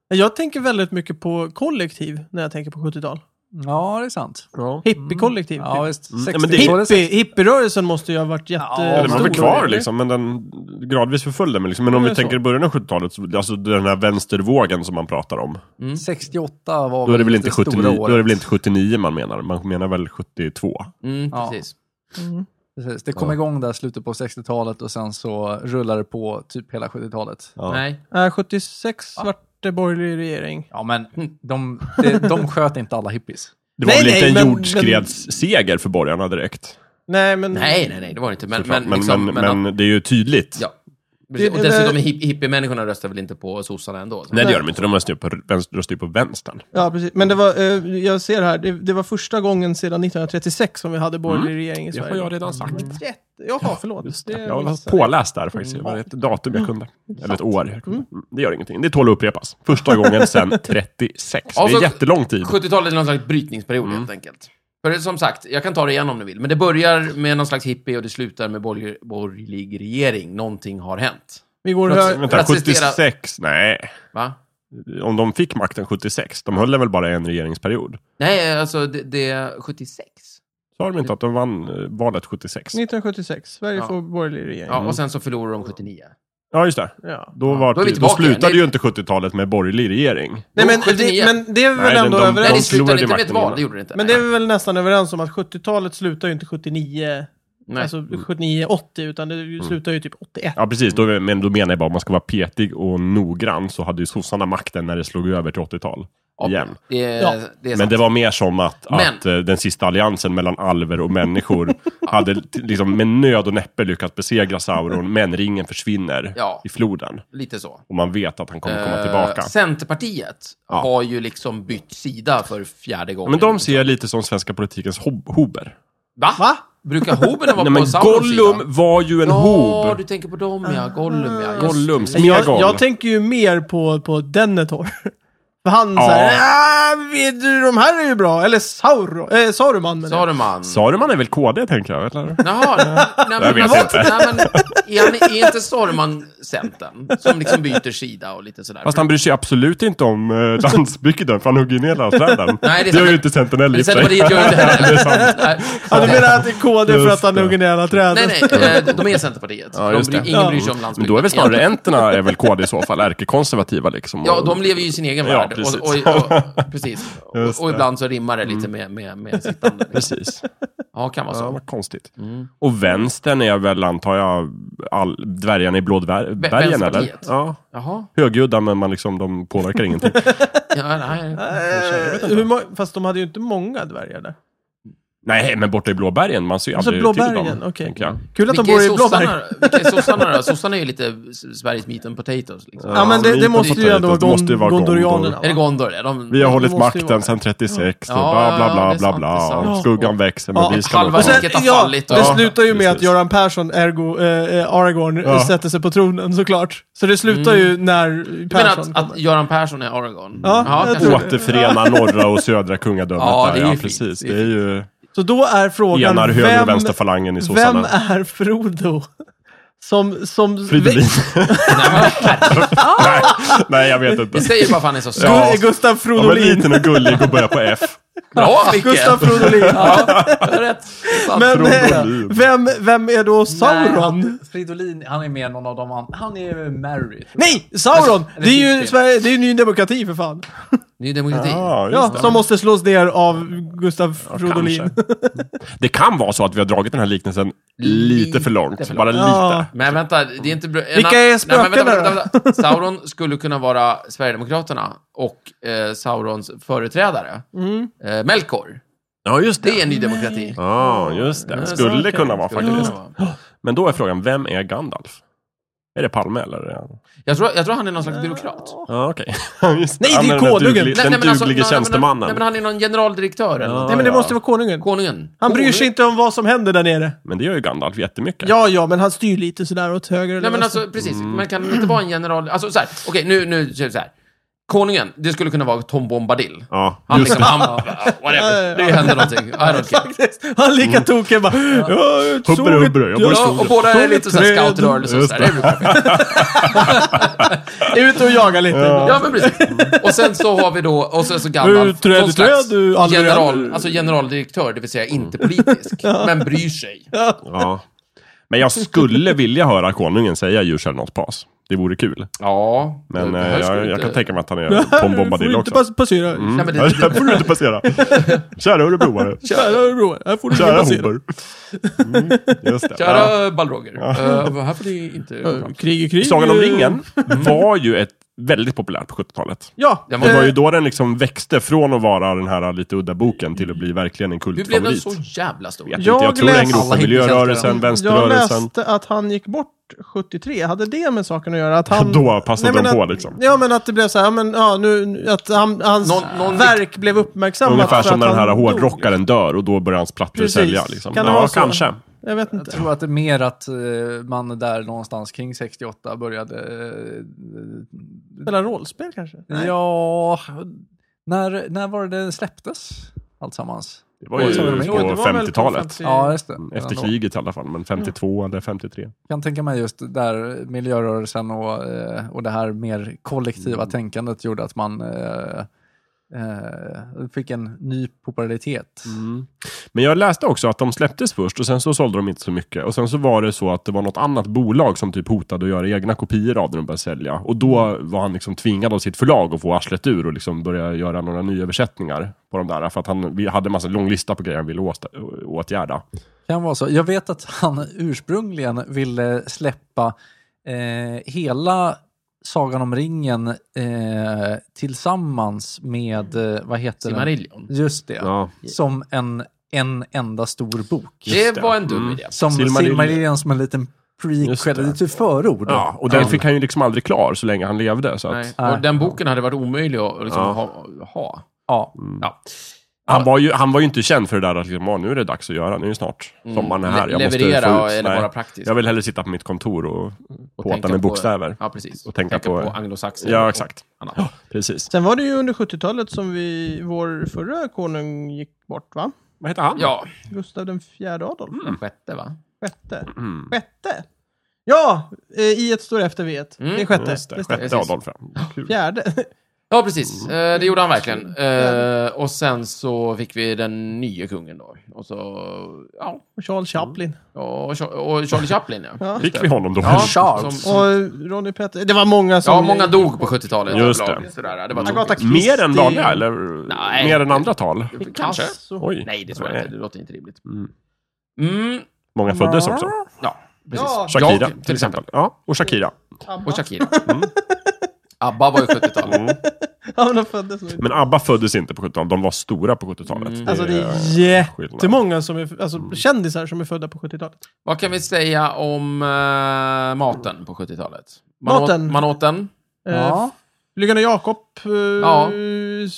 Speaker 1: Jag tänker väldigt mycket på kollektiv när jag tänker på 70-tal.
Speaker 3: Ja, det är sant.
Speaker 4: Ja.
Speaker 1: Hippiekollektiv. typ.
Speaker 3: Ja, visst.
Speaker 4: Mm,
Speaker 3: 60
Speaker 4: men det-
Speaker 1: Hippie, hippierörelsen måste ju ha varit jätte...
Speaker 3: Ja,
Speaker 4: Den var
Speaker 1: stor,
Speaker 4: väl kvar
Speaker 1: eller?
Speaker 4: liksom, men den gradvis förföljde den. Liksom. Men om
Speaker 1: Ja,
Speaker 4: vi
Speaker 1: det är
Speaker 4: tänker i början av 70-talet, så- alltså den här vänstervågen som man pratar om.
Speaker 3: 68 Mm. var
Speaker 4: Då är det väl inte
Speaker 3: stora
Speaker 4: 79, då är det
Speaker 3: året.
Speaker 4: väl inte 79 man menar? Man menar väl 72?
Speaker 2: Mm,
Speaker 3: Ja.
Speaker 2: precis.
Speaker 3: Precis. Det kom igång där slutet på 60-talet och sen så rullade det på typ hela 70-talet.
Speaker 4: Ja.
Speaker 2: Nej.
Speaker 1: Nej, 76 vart det borgerlig regering.
Speaker 3: Ja, men de, de, de sköt inte alla hippies.
Speaker 4: Det var
Speaker 1: Nej,
Speaker 4: väl
Speaker 1: nej,
Speaker 4: inte en
Speaker 1: men-
Speaker 4: jordskredsseger för borgarna direkt?
Speaker 1: Nej, men...
Speaker 2: nej, nej, nej, det var det inte. Men,
Speaker 4: såklart.
Speaker 2: men, liksom, men,
Speaker 4: men, det är ju tydligt.
Speaker 2: ja. Precis. Och
Speaker 1: Det-
Speaker 2: dessutom,
Speaker 1: det-
Speaker 2: hipp- hippiemänniskorna röstar väl inte på sossarna ändå? Så.
Speaker 4: Nej, det gör de inte. De röstar ju på, vänster, röstar ju på vänstern.
Speaker 1: Ja, precis. Men det var, eh, jag ser här, det, det var första gången sedan 1936 som vi
Speaker 4: Mm.
Speaker 1: hade borgerlig regering i Sverige.
Speaker 4: redan sagt.
Speaker 1: 30. Jaha, förlåt. Det
Speaker 4: Jag var
Speaker 1: missade
Speaker 4: påläst där faktiskt. Det var ett datum jag kunde. Eller ett år. Jag kunde. Mm. Det gör ingenting. Det tål att upprepas. Första gången sedan 36. Det
Speaker 2: Alltså,
Speaker 4: är jättelång tid.
Speaker 2: 70-talet är någon slags brytningsperiod
Speaker 4: Mm.
Speaker 2: helt enkelt. För det- som sagt, jag kan ta det igen om ni vill, men det börjar med någon slags hippie och det slutar med borger, borgerlig regering. Någonting har hänt.
Speaker 1: Vi går
Speaker 2: Plötsligt-
Speaker 1: höger.
Speaker 4: Vänta,
Speaker 2: att citera-
Speaker 4: 76? Nej.
Speaker 2: Va?
Speaker 4: Om de fick makten 76, de höll väl bara en regeringsperiod?
Speaker 2: Nej, alltså det, det är 76.
Speaker 4: Sa de inte att de vann eh, valet 76?
Speaker 1: 1976, Sverige
Speaker 2: Ja.
Speaker 1: får borgerlig regering.
Speaker 2: Ja, och sen så förlorar de 79.
Speaker 4: Mm. Ja, just det.
Speaker 1: Ja.
Speaker 4: Då, var
Speaker 2: Då är vi
Speaker 4: det, då
Speaker 2: tillbaka.
Speaker 4: slutade
Speaker 2: Nej.
Speaker 4: ju inte 70-talet med borgerlig regering.
Speaker 1: Nej, men,
Speaker 2: 79.
Speaker 1: det, men det är vi
Speaker 4: Nej,
Speaker 1: väl
Speaker 4: de-
Speaker 1: ändå
Speaker 4: de-
Speaker 2: Nej, det
Speaker 1: överens
Speaker 2: slutade
Speaker 4: förlorade
Speaker 2: inte med ett
Speaker 4: makten
Speaker 2: val,
Speaker 4: innan.
Speaker 2: det gjorde det inte.
Speaker 1: Men det är vi väl nästan överens om att 70-talet slutar ju inte 79,
Speaker 2: Nej.
Speaker 1: alltså 79-80, utan det
Speaker 4: Mm.
Speaker 1: ju slutar ju typ 81.
Speaker 4: Ja, precis. Då, men då menar jag bara om man ska vara petig och noggrann så hade ju sossarna makten när det slog över till 80-tal. Igen.
Speaker 2: Det,
Speaker 1: Ja.
Speaker 2: det är
Speaker 4: Men
Speaker 2: sant.
Speaker 4: det var mer som att,
Speaker 2: Men-
Speaker 4: att eh, den sista alliansen mellan alver och människor hade t- liksom, med nöd och näppe lyckats besegra Sauron, men ringen försvinner
Speaker 2: Ja.
Speaker 4: i floden.
Speaker 2: Lite så.
Speaker 4: Och man vet att han kommer komma
Speaker 2: Eh,
Speaker 4: tillbaka.
Speaker 2: Centerpartiet
Speaker 4: Ja.
Speaker 2: har ju liksom bytt sida för fjärde gången.
Speaker 4: Men de ser jag lite som svenska politikens hob- hober.
Speaker 2: Va?
Speaker 1: Va?
Speaker 2: Brukar hoberna vara
Speaker 4: Nej, men
Speaker 2: på Saurons sida?
Speaker 4: Gollum var ju en
Speaker 2: Ja,
Speaker 4: hob.
Speaker 2: du tänker på dem ja. Gollum ja. Just
Speaker 4: Gollum,
Speaker 2: det.
Speaker 1: Men Jag,
Speaker 4: Smeagol.
Speaker 1: jag tänker ju mer på, på Denethor. För han
Speaker 4: Ja.
Speaker 1: såhär, "Ah, vet du, de här är ju bra. Eller Sauro, eh, Saruman menar jag.
Speaker 2: Saruman.
Speaker 4: Saruman är väl KD, tänker jag? Eller?
Speaker 2: Jaha, nej, men,
Speaker 4: Jag vet
Speaker 2: men-
Speaker 4: inte.
Speaker 2: Nej, men, är, han, är inte Saruman centern? Som liksom byter sida och lite sådär.
Speaker 4: Fast han bryr sig absolut inte om eh, landsbygden, för han hugger ju ner alla träden.
Speaker 2: Nej, det är sant.
Speaker 4: gör ju inte Centern heller i
Speaker 2: Men
Speaker 4: och för sig.
Speaker 2: Centerpartiet gör inte heller det. Nej.
Speaker 1: Ja, du menar att det är KD för
Speaker 4: Just
Speaker 1: att han
Speaker 4: det.
Speaker 1: hugger ner alla träd?
Speaker 2: Nej, nej, eh, de är Centerpartiet.
Speaker 4: Ja,
Speaker 2: de
Speaker 4: just
Speaker 2: bryr,
Speaker 4: det.
Speaker 2: ingen
Speaker 1: Ja.
Speaker 2: bryr sig om
Speaker 4: Men
Speaker 2: landsbygden.
Speaker 4: då är väl snarare enterna är väl KD i så fall, ärkekonservativa liksom.
Speaker 2: Ja, de lever ju i sin egen
Speaker 4: Ja,
Speaker 2: värld.
Speaker 4: precis.
Speaker 2: Och, och, och, precis.
Speaker 4: Just
Speaker 2: Och, och
Speaker 4: det. Mm.
Speaker 2: ibland så rimmar det lite med, med, med sittande. Liksom.
Speaker 4: Precis.
Speaker 2: Ja, Mm. kan vara
Speaker 4: Ja,
Speaker 2: så.
Speaker 4: vad konstigt. Och vänstern är väl, antar jag, all, dvärgarna i blådbergen, eller?
Speaker 2: Vänsterpartiet.
Speaker 4: Ja.
Speaker 2: Jaha.
Speaker 4: Högljudda, men man liksom, de påverkar ingenting.
Speaker 2: Ja, nej.
Speaker 1: Eh, hur må- fast de hade ju inte många dvärgar där.
Speaker 4: Nej, men borta i blåbergen, man ser ju
Speaker 1: Alltså
Speaker 4: aldrig till
Speaker 1: blåbergen,
Speaker 4: dem.
Speaker 1: okej.
Speaker 4: tänker jag.
Speaker 1: Kul att de
Speaker 2: Vilka
Speaker 1: bor i
Speaker 2: är sossarna-
Speaker 1: blåberg.
Speaker 2: vilka är sossarna då? Sossarna är ju lite S- Sveriges meat and potatoes. Liksom.
Speaker 1: Ja, men det, det måste ju ändå vara
Speaker 4: Det måste ju vara
Speaker 1: Gon-
Speaker 4: Gondor.
Speaker 1: gondorianerna.
Speaker 2: Är det
Speaker 1: va?
Speaker 2: Gondor? det? De,
Speaker 4: Vi har hållit
Speaker 1: måste ju vara
Speaker 4: makten sedan 36 och
Speaker 2: Ja,
Speaker 4: bla bla
Speaker 2: ja, det
Speaker 4: bla
Speaker 2: är
Speaker 4: bla
Speaker 2: sant, det är
Speaker 4: bla.
Speaker 2: sant.
Speaker 4: Skuggan växer men
Speaker 1: Ja,
Speaker 4: vi ska...
Speaker 2: halva
Speaker 4: Ja.
Speaker 1: Och sen,
Speaker 2: Folket har
Speaker 1: ja,
Speaker 2: fallit och-
Speaker 1: det
Speaker 2: Ja,
Speaker 1: slutar ju med att
Speaker 4: precis.
Speaker 1: Göran Persson, ergo eh, eh, Aragorn,
Speaker 4: Ja.
Speaker 1: sätter sig på tronen såklart. Så det slutar ju när
Speaker 2: Mm. Du menar att,
Speaker 1: Persson kommer.
Speaker 2: att Göran Persson är Aragorn?
Speaker 1: Ja, jag
Speaker 2: kanske.
Speaker 1: tror det.
Speaker 4: Återförena norra och södra kungadömet
Speaker 2: Ja,
Speaker 4: där.
Speaker 2: det är ju
Speaker 4: Ja,
Speaker 2: fint.
Speaker 4: precis.
Speaker 2: Det är
Speaker 4: Det är ju
Speaker 1: Så då är frågan,
Speaker 4: enar höger och
Speaker 1: vem,
Speaker 4: vänsterfalangen i
Speaker 1: vem
Speaker 4: sossarna.
Speaker 1: är Frodo? Som, som...
Speaker 4: Fridolin.
Speaker 2: Nej, men,
Speaker 4: Nej, nej, jag vet inte.
Speaker 2: vi säger bara att han är så söt.
Speaker 4: Ja.
Speaker 1: Gu- Gustav
Speaker 4: Han var
Speaker 1: Fridolin.
Speaker 4: liten och gullig och började på F.
Speaker 2: Bra, Micke!
Speaker 1: Gustav Fridolin.
Speaker 2: Det är rätt. Sant.
Speaker 1: Men eh,
Speaker 4: Fridolin.
Speaker 1: vem, vem är då Sauron?
Speaker 3: Nej, han- Fridolin, han är med någon av dem. Han, han är ju Mary.
Speaker 1: Nej, Sauron!
Speaker 3: Eller
Speaker 1: Alltså, Det är ju
Speaker 3: Fridolin.
Speaker 1: Sverige, det är ju Ny Demokrati för fan.
Speaker 2: Ny Demokrati.
Speaker 4: Ja, just
Speaker 1: Ja,
Speaker 4: det.
Speaker 1: som måste slås ner av Gustav Fridolin.
Speaker 4: kanske. Mm. Det kan vara så att vi har dragit den här liknelsen lite för långt.
Speaker 2: för
Speaker 4: Bara lite.
Speaker 1: Ja.
Speaker 2: Men vänta, det är inte... bra- en
Speaker 1: Vilka
Speaker 2: annan-
Speaker 1: är
Speaker 2: Nej, men vänta,
Speaker 1: spökena
Speaker 2: vänta,
Speaker 1: då?
Speaker 2: vänta, vänta. Sauron skulle kunna vara Sverigedemokraterna och eh, Saurons företrädare,
Speaker 1: Mm.
Speaker 2: eh, Melkor.
Speaker 4: Ja, just
Speaker 2: Det är Ny Demokrati.
Speaker 4: Ja, just det. Skulle kunna vara
Speaker 2: Skulle kunna
Speaker 4: faktiskt.
Speaker 2: vara.
Speaker 4: Men då är frågan, vem är Gandalf? Är det Palme eller? är han-
Speaker 2: Jag tror, jag tror han är någon slags byråkrat.
Speaker 4: Ja, okej. Just
Speaker 1: Nej, det är
Speaker 4: Han den
Speaker 1: Konungen.
Speaker 4: duglig- Den
Speaker 2: men alltså,
Speaker 4: duglige
Speaker 2: nej, nej, men- Nej,
Speaker 4: tjänstemannen.
Speaker 2: men han är någon generaldirektör eller
Speaker 4: Ja.
Speaker 2: någonting.
Speaker 1: Nej men det
Speaker 4: ja.
Speaker 1: måste vara konungen.
Speaker 2: Konungen.
Speaker 1: Han bryr sig inte om vad som händer där nere.
Speaker 4: Men det gör ju Gandalf jättemycket.
Speaker 1: Ja, ja, men han styr lite sådär åt höger eller
Speaker 2: Nej men
Speaker 4: Mm.
Speaker 1: vänster.
Speaker 2: alltså precis, man kan inte vara en general... Alltså såhär, okej nu, nu kör vi såhär. Konungen, det skulle kunna vara Tom Bombadil.
Speaker 4: Ja,
Speaker 2: Han
Speaker 4: just
Speaker 2: liksom,
Speaker 4: det.
Speaker 2: han, whatever. Det händer någonting. I don't care.
Speaker 1: Han är
Speaker 4: Mm.
Speaker 1: lika tokig bara. Ja, jag såg
Speaker 4: Hubbre,
Speaker 1: ett-
Speaker 4: hubbre, jag bor i
Speaker 1: jag-
Speaker 2: Ja, och båda är lite såhär
Speaker 1: Träd.
Speaker 2: scoutrörelse och
Speaker 4: Just
Speaker 2: sådär. Det brukar vi.
Speaker 1: Ut och jaga lite.
Speaker 2: Ja, men precis. Och sen så har vi då, och sen så
Speaker 1: Du,
Speaker 2: Gandalf,
Speaker 1: träd,
Speaker 2: någon slags
Speaker 1: träd, du, aldrig
Speaker 2: general,
Speaker 1: aldrig.
Speaker 2: alltså generaldirektör, det vill säga inte politisk, men bryr sig.
Speaker 4: Ja. Men jag skulle vilja höra konungen säga You shall not pass. Det vore kul.
Speaker 2: Ja, det-
Speaker 4: Men
Speaker 2: det
Speaker 4: eh,
Speaker 2: här skulle
Speaker 4: jag, jag
Speaker 2: inte-
Speaker 4: kan tänka mig att han är Tom
Speaker 1: Här får
Speaker 4: Bombadil
Speaker 1: du
Speaker 4: också. Mm.
Speaker 1: inte pass- passera.
Speaker 2: Nej, men det,
Speaker 4: Här här får du inte passera. Kära örebroare.
Speaker 1: Kära Örebro, här får du inte
Speaker 4: Kära
Speaker 1: passera.
Speaker 4: hober. Mm, just det. Ja.
Speaker 2: Kära Balroger, eh, här får ni inte gå fram.
Speaker 1: Krig är krig.
Speaker 4: Sagan om
Speaker 1: eh,
Speaker 4: ringen var ju ett väldigt populärt på 70-talet.
Speaker 1: Ja.
Speaker 2: Den
Speaker 4: Det var ju
Speaker 1: eh,
Speaker 4: då den liksom växte från att vara den här lite udda boken till att bli verkligen en
Speaker 2: Hur blev den
Speaker 4: kultfavorit.
Speaker 2: så jävla stor?
Speaker 4: Jag,
Speaker 1: Jag
Speaker 4: jag, jag tror det
Speaker 1: läste-
Speaker 4: hänger ihop med
Speaker 2: Alla
Speaker 4: miljörörelsen,
Speaker 2: hittills-
Speaker 1: Jag
Speaker 4: vänsterrörelsen.
Speaker 1: läste att han gick bort 73. Hade det med saken att göra? Att han...
Speaker 4: Då passade
Speaker 1: Nej, men
Speaker 4: de på
Speaker 1: att,
Speaker 4: liksom.
Speaker 1: Ja, men att det blev så här, ja, men, ja, nu- nu, att han, hans
Speaker 2: Någon- någon-
Speaker 1: verk blev uppmärksammat.
Speaker 4: Ungefär
Speaker 1: för
Speaker 4: som
Speaker 1: att
Speaker 4: när den
Speaker 1: han
Speaker 4: här
Speaker 1: dog.
Speaker 4: hårdrockaren dör och då börjar hans plattor
Speaker 1: Precis.
Speaker 4: sälja. Liksom.
Speaker 1: Kan det
Speaker 4: ja,
Speaker 1: vara så?
Speaker 4: kanske.
Speaker 1: Jag vet
Speaker 3: Jag
Speaker 1: inte.
Speaker 3: tror att det är mer att eh, man där någonstans kring 68 började...
Speaker 1: Spela rollspel kanske?
Speaker 3: Eh, ja, när, när var det den släpptes? Alltsammans?
Speaker 4: Det var ju
Speaker 3: Jo,
Speaker 4: på
Speaker 3: det
Speaker 1: var väl på
Speaker 4: 50-talet.
Speaker 1: 50.
Speaker 3: Ja, just det.
Speaker 4: Efter
Speaker 3: Ändå.
Speaker 4: kriget i alla fall, men 52 eller 53.
Speaker 3: kan tänka mig just där miljörörelsen och, eh, och det här mer kollektiva
Speaker 4: Mm.
Speaker 3: tänkandet gjorde att man eh, eh, fick en ny popularitet.
Speaker 4: Mm. Men jag läste också att de släpptes först och sen så sålde de inte så mycket. Och sen så var det så att det var något annat bolag som typ hotade att göra egna kopior av den och började sälja. Och då var han liksom tvingad av sitt förlag att få arslet ur och liksom börja göra några nyöversättningar på de där. För att han vi hade en massa lång lista på grejer han ville åsta- å- åtgärda.
Speaker 3: Kan vara så. Jag vet att han ursprungligen ville släppa eh, hela Sagan om ringen eh, tillsammans med, eh, vad heter den?
Speaker 2: Silmarillion.
Speaker 3: Just det.
Speaker 4: Ja.
Speaker 3: Som en, en enda stor bok.
Speaker 2: Det
Speaker 4: det.
Speaker 2: var en dum
Speaker 4: Mm.
Speaker 2: idé.
Speaker 3: Som
Speaker 4: Silmarillion.
Speaker 3: Silmarillion som en liten
Speaker 4: Just
Speaker 3: prequel,
Speaker 4: det.
Speaker 3: lite förord.
Speaker 4: ja, och den fick han ju liksom aldrig klar så länge han levde. Så att,
Speaker 2: Nej. Och den boken hade varit omöjlig att liksom,
Speaker 4: Ja.
Speaker 2: ha. ha.
Speaker 3: Ja.
Speaker 4: Mm.
Speaker 2: Ja.
Speaker 4: han, var ju, han var ju inte känd för det där att liksom, "Ah, nu är det dags att göra, nu är det snart sommaren är här.
Speaker 2: Mm. Le-
Speaker 4: Jag måste
Speaker 2: leverera
Speaker 4: få ut-
Speaker 2: eller
Speaker 4: Nej.
Speaker 2: vara praktisk.
Speaker 4: Jag vill hellre sitta på mitt kontor och,
Speaker 2: Och tänka
Speaker 4: påta med
Speaker 2: på-
Speaker 4: bokstäver.
Speaker 2: Ja, precis.
Speaker 4: Och tänka på-
Speaker 2: anglosaxer.
Speaker 4: Ja, exakt.
Speaker 2: Och annat.
Speaker 4: Precis.
Speaker 1: Sen var det ju under 70-talet som vi, vår förra konung gick bort, va?
Speaker 4: Vad heter han?
Speaker 2: Ja,
Speaker 1: Gustav den fjärde Adolf?
Speaker 2: den sjätte va?
Speaker 1: Sjätte?
Speaker 4: Mm.
Speaker 1: Sjätte? Ja! eh, I ett står efter V. ett.
Speaker 2: Mm,
Speaker 1: Det är sjätte.
Speaker 4: Just det,
Speaker 1: Det stämmer.
Speaker 4: sjätte
Speaker 2: Precis.
Speaker 4: Adolf. ja. Kul.
Speaker 1: Fjärde.
Speaker 2: Ja, precis.
Speaker 4: Mm.
Speaker 2: Eh, Det gjorde han verkligen. Eh, Och sen så fick vi den nya kungen då. Och så, ja,
Speaker 1: Och Charles Chaplin.
Speaker 2: och, Cha- och Charlie Chaplin ja.
Speaker 1: Ja.
Speaker 4: Fick vi honom då?
Speaker 2: Ja,
Speaker 3: Charles.
Speaker 2: som- som-
Speaker 1: Och Ronny Petter. Det var många som...
Speaker 2: ja, många dog på 70-talet.
Speaker 4: Just
Speaker 2: överlag,
Speaker 4: det. Mm.
Speaker 2: Sådär. det var
Speaker 1: Agatha
Speaker 2: tokigt.
Speaker 1: Christie.
Speaker 4: Mer än vanliga, eller?
Speaker 2: Nej.
Speaker 4: Mer än andra tal?
Speaker 2: Kanske.
Speaker 1: Picasso.
Speaker 4: Oj.
Speaker 2: Nej, det tror jag
Speaker 4: Nej.
Speaker 2: inte. Det låter inte rimligt.
Speaker 4: Mm.
Speaker 2: Mm,
Speaker 4: Många föddes också.
Speaker 2: ja, precis.
Speaker 1: Ja.
Speaker 4: Shakira,
Speaker 2: Jag,
Speaker 4: till exempel. Ja, och Shakira.
Speaker 1: Abba.
Speaker 2: Och Shakira.
Speaker 4: Mm.
Speaker 2: ABBA var ju 70-tal.
Speaker 4: Mm.
Speaker 1: Ja, men de föddes nog inte.
Speaker 4: Men ABBA föddes inte på 70-talet. De var stora på 70-talet.
Speaker 2: Mm.
Speaker 1: Alltså det
Speaker 4: är
Speaker 1: är
Speaker 4: skillnad.
Speaker 1: jättemånga som är, alltså,
Speaker 3: Mm.
Speaker 1: kändisar som är födda på 70-talet.
Speaker 2: Vad kan vi säga om eh, maten på 70-talet? Man
Speaker 1: Maten?
Speaker 2: Åt, man åt den.
Speaker 1: Eh,
Speaker 3: Ja.
Speaker 1: Flygande Jakob, eh,
Speaker 2: Ja.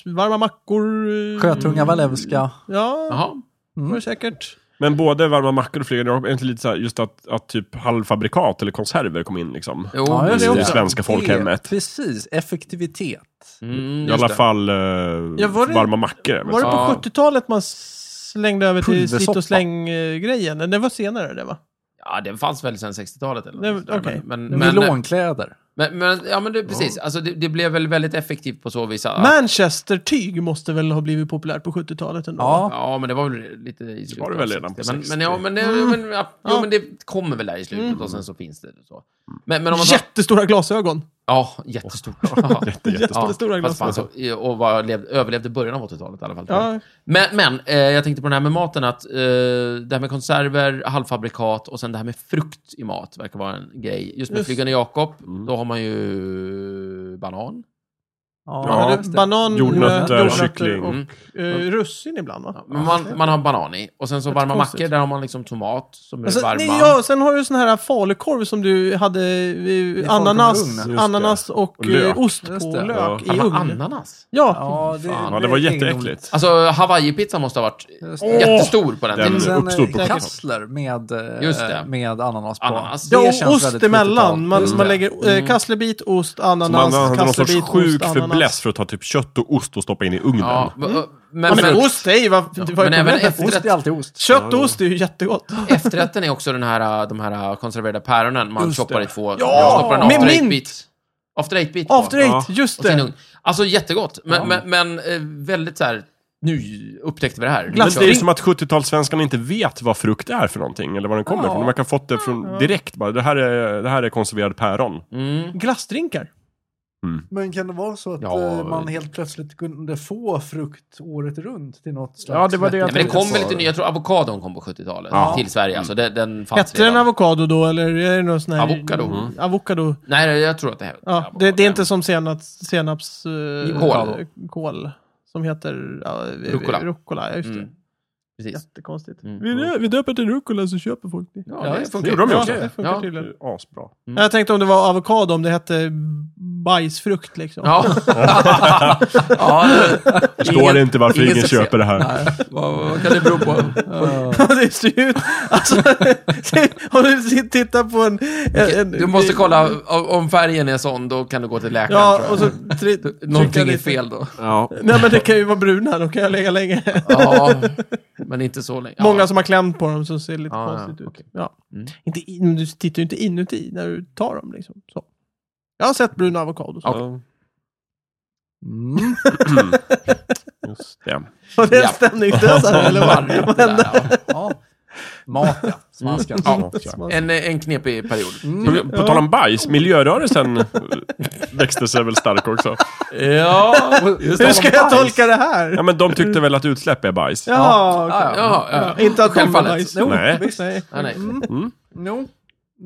Speaker 1: varma mackor. eh,
Speaker 3: Sjötunga Walewska.
Speaker 1: Ja,
Speaker 2: Jaha.
Speaker 1: det
Speaker 3: Mm.
Speaker 1: var säkert.
Speaker 4: Men både varma mackor och flygande är det inte lite så här, just att, att typ halvfabrikat eller konserver kom in liksom?
Speaker 2: Jo,
Speaker 3: Ja, just
Speaker 4: I
Speaker 1: det
Speaker 4: det
Speaker 1: också.
Speaker 4: svenska folkhemmet.
Speaker 3: Det- Precis, effektivitet.
Speaker 2: Mm,
Speaker 4: I
Speaker 2: just
Speaker 4: alla
Speaker 2: det.
Speaker 4: fall eh,
Speaker 1: Ja, var det-
Speaker 4: varma mackor. är väl
Speaker 1: Var det
Speaker 4: så.
Speaker 1: på
Speaker 2: Ja.
Speaker 1: 70-talet man slängde över till
Speaker 3: Pulversoppa.
Speaker 1: slit och släng-grejen? Det var senare det va?
Speaker 2: Ja, den fanns väl sedan 60-talet eller
Speaker 1: Det-
Speaker 2: något sånt där,
Speaker 1: okej.
Speaker 2: men, men, eh, men,
Speaker 3: Nylonkläder.
Speaker 2: men, men, ja men det, precis. Alltså det, det blev väl väldigt effektivt på så vis. att-
Speaker 1: Manchester-tyg måste väl ha blivit populärt på 70-talet ändå?
Speaker 3: Ja.
Speaker 2: Ja, men det var väl lite i slutet.
Speaker 4: var det väl
Speaker 2: av
Speaker 4: redan på
Speaker 2: 60. men,
Speaker 4: 60.
Speaker 2: men, ja, men, det, men, ja, Jo,
Speaker 1: Mm.
Speaker 2: men det kommer väl där i slutet och sen så finns det. Så. Men, men om man tar,
Speaker 1: Jättestora glasögon!
Speaker 2: ja, jättestort. Ja.
Speaker 4: Jättestort.
Speaker 1: Jättestora
Speaker 2: fast
Speaker 1: glasögon.
Speaker 2: fanns och- och var, lev, överlevde början av 80-talet i alla fall. tror jag.
Speaker 1: Ja.
Speaker 2: Men, men eh, jag tänkte på det här med maten, att eh, det här med konserver, halvfabrikat och sen det här med frukt i mat verkar vara en grej. Just med
Speaker 1: Just. Mm.
Speaker 2: Flygande Jakob, då har man ju banan.
Speaker 4: Ja,
Speaker 1: Ja,
Speaker 3: just
Speaker 1: det-
Speaker 3: det.
Speaker 1: banan,
Speaker 4: Jordnötter,
Speaker 1: nötter,
Speaker 4: kyckling.
Speaker 1: och
Speaker 2: Mm.
Speaker 1: eh, russin ibland va?
Speaker 2: Men man, man har banan i. Och sen så varma
Speaker 1: konstigt.
Speaker 2: mackor, där har man liksom tomat som är
Speaker 1: Alltså,
Speaker 2: varma.
Speaker 1: nej, ja, sen har du sån här falukorv som du hade eh,
Speaker 3: falukorv i
Speaker 1: ananas,
Speaker 3: ugn.
Speaker 4: Just det.
Speaker 1: ananas och,
Speaker 4: Och lök.
Speaker 1: eh, ost
Speaker 3: Just
Speaker 1: på
Speaker 3: det.
Speaker 1: lök
Speaker 2: Fan,
Speaker 1: i
Speaker 2: vad
Speaker 1: ugn.
Speaker 2: Ananas.
Speaker 1: Ja,
Speaker 3: Ja, det,
Speaker 4: Ja, det var
Speaker 3: är
Speaker 4: jätteäckligt.
Speaker 2: Alltså, hawaii-pizza måste ha varit eh,
Speaker 3: Just det.
Speaker 2: jättestor på den
Speaker 4: Den-
Speaker 2: tiden.
Speaker 3: egendomligt.
Speaker 4: Mm.
Speaker 3: Men
Speaker 4: uppstod på
Speaker 3: sen eh,
Speaker 4: 70-talet.
Speaker 3: kassler med, eh,
Speaker 2: Just det.
Speaker 3: med ananas på.
Speaker 2: Ananas.
Speaker 1: ja
Speaker 3: Det
Speaker 1: och
Speaker 3: känns
Speaker 1: ost
Speaker 3: väldigt 70-tal.
Speaker 1: emellan. Man,
Speaker 3: Just
Speaker 1: man
Speaker 3: det.
Speaker 1: lägger eh, kasslerbit, ost,
Speaker 4: Så man
Speaker 1: ananas,
Speaker 4: hade någon sorts
Speaker 1: kasslerbit,
Speaker 4: sjuk
Speaker 1: ost, ananas.
Speaker 4: fäbless för att ta typ kött och ost och stoppa in i ugnen.
Speaker 2: Ja, men,
Speaker 1: Mm. Ja,
Speaker 2: men,
Speaker 1: men
Speaker 2: men,
Speaker 1: ost, hej, vad, vad är
Speaker 2: men även
Speaker 1: problemet?
Speaker 2: efter-
Speaker 3: Ost är alltid ost.
Speaker 1: Kött och ost är ju jättegott.
Speaker 2: efterrätten är också den här, äh, de här äh, konserverade päronen man
Speaker 4: Just det.
Speaker 2: choppar i två.
Speaker 1: Ja!
Speaker 2: Stoppar
Speaker 1: Med
Speaker 2: en after
Speaker 1: mint.
Speaker 2: eight-bit. After eight-bit på.
Speaker 1: After eight, just
Speaker 2: Och sin
Speaker 1: det.
Speaker 2: ugn. Alltså jättegott, men, men, men eh, väldigt så här, nu upptäckte vi det här.
Speaker 4: Men
Speaker 2: Liksom.
Speaker 4: det är ju som att 70-talssvenskarna inte vet vad frukt är för någonting, eller var den kommer
Speaker 1: Ja.
Speaker 4: ifrån. De verkar ha fått det från direkt bara. Det här är, det här är konserverad päron.
Speaker 2: Mm.
Speaker 1: Glassdrinkar.
Speaker 3: Men kan det vara så att
Speaker 2: Ja.
Speaker 3: eh, man helt plötsligt kunde få frukt året runt till något slags... Ja, det var det jag
Speaker 2: Nej, men det
Speaker 3: tänkte
Speaker 2: kom
Speaker 3: på.
Speaker 2: väl lite nya, jag tror avokadon kom på 70-talet
Speaker 4: Ja.
Speaker 2: till Sverige. Alltså, den, den fanns
Speaker 1: Hette den avokado då, eller är det någon sån här...
Speaker 2: Avokado.
Speaker 1: Mm. Avokado.
Speaker 2: Nej, jag tror att det här
Speaker 1: Ja, det, det är inte som senap, senaps... eh,
Speaker 2: Kål.
Speaker 1: kål. Som heter... ja, eh,
Speaker 2: Rucola.
Speaker 1: Rucola, ja, just det.
Speaker 2: Mm. Precis.
Speaker 1: Jättekonstigt.
Speaker 2: Mm.
Speaker 1: Vi, dö- vi döper till rucola så köper folk det.
Speaker 2: Ja, det
Speaker 1: visst.
Speaker 2: funkar.
Speaker 4: Det gjorde de ju
Speaker 1: Ja,
Speaker 4: också.
Speaker 1: det funkar
Speaker 2: Ja.
Speaker 1: tydligen.
Speaker 4: Asbra.
Speaker 1: Jag tänkte om det var avokado, om det hette bajsfrukt liksom.
Speaker 2: Ja. ja det,
Speaker 4: Förstår inte varför ingen, köper det här.
Speaker 2: Vad, vad kan det bero på?
Speaker 1: det ser ju ut... Alltså, om du tittar på en... en, en
Speaker 2: Du måste kolla, om om färgen är sån, då kan du gå till läkaren.
Speaker 1: Ja,
Speaker 2: tror jag.
Speaker 1: och så... Tri, trycka
Speaker 2: Någonting är
Speaker 1: lite.
Speaker 2: fel då.
Speaker 4: Ja.
Speaker 1: Nej, men det kan ju vara bruna, de kan jag lägga länge.
Speaker 2: Ja, men inte så länge. Ja. Ah,
Speaker 1: Många som har klämt på dem som ser lite
Speaker 2: Ja,
Speaker 1: konstigt
Speaker 2: ja,
Speaker 1: ut.
Speaker 2: okej.
Speaker 1: Ja.
Speaker 2: Mm.
Speaker 1: Inte in, du tittar ju inte inuti när du tar dem. Liksom. Så. Jag har sett bruna avokados.
Speaker 3: Mm.
Speaker 4: Just det.
Speaker 1: Var det en
Speaker 2: Ja.
Speaker 1: stämningslösare eller vad? vad hände?
Speaker 2: Där,
Speaker 3: Ja. Mat, ja. Smaskar.
Speaker 2: ja.
Speaker 4: Ja.
Speaker 2: Ja. En, en knepig period.
Speaker 4: På, på tal om bajs, miljörörelsen eh, växte sig väl stark också.
Speaker 2: Ja,
Speaker 1: Hur ska jag tolka det här?
Speaker 4: Ja, men de tyckte väl att utsläpp är bajs.
Speaker 1: Ja, okej.
Speaker 2: ja, ja.
Speaker 1: Inte att de var
Speaker 2: Självfallet.
Speaker 1: bajs.
Speaker 3: Jo,
Speaker 4: Nej.
Speaker 3: visst.
Speaker 1: Nej.
Speaker 2: Ja, nej.
Speaker 3: Jo.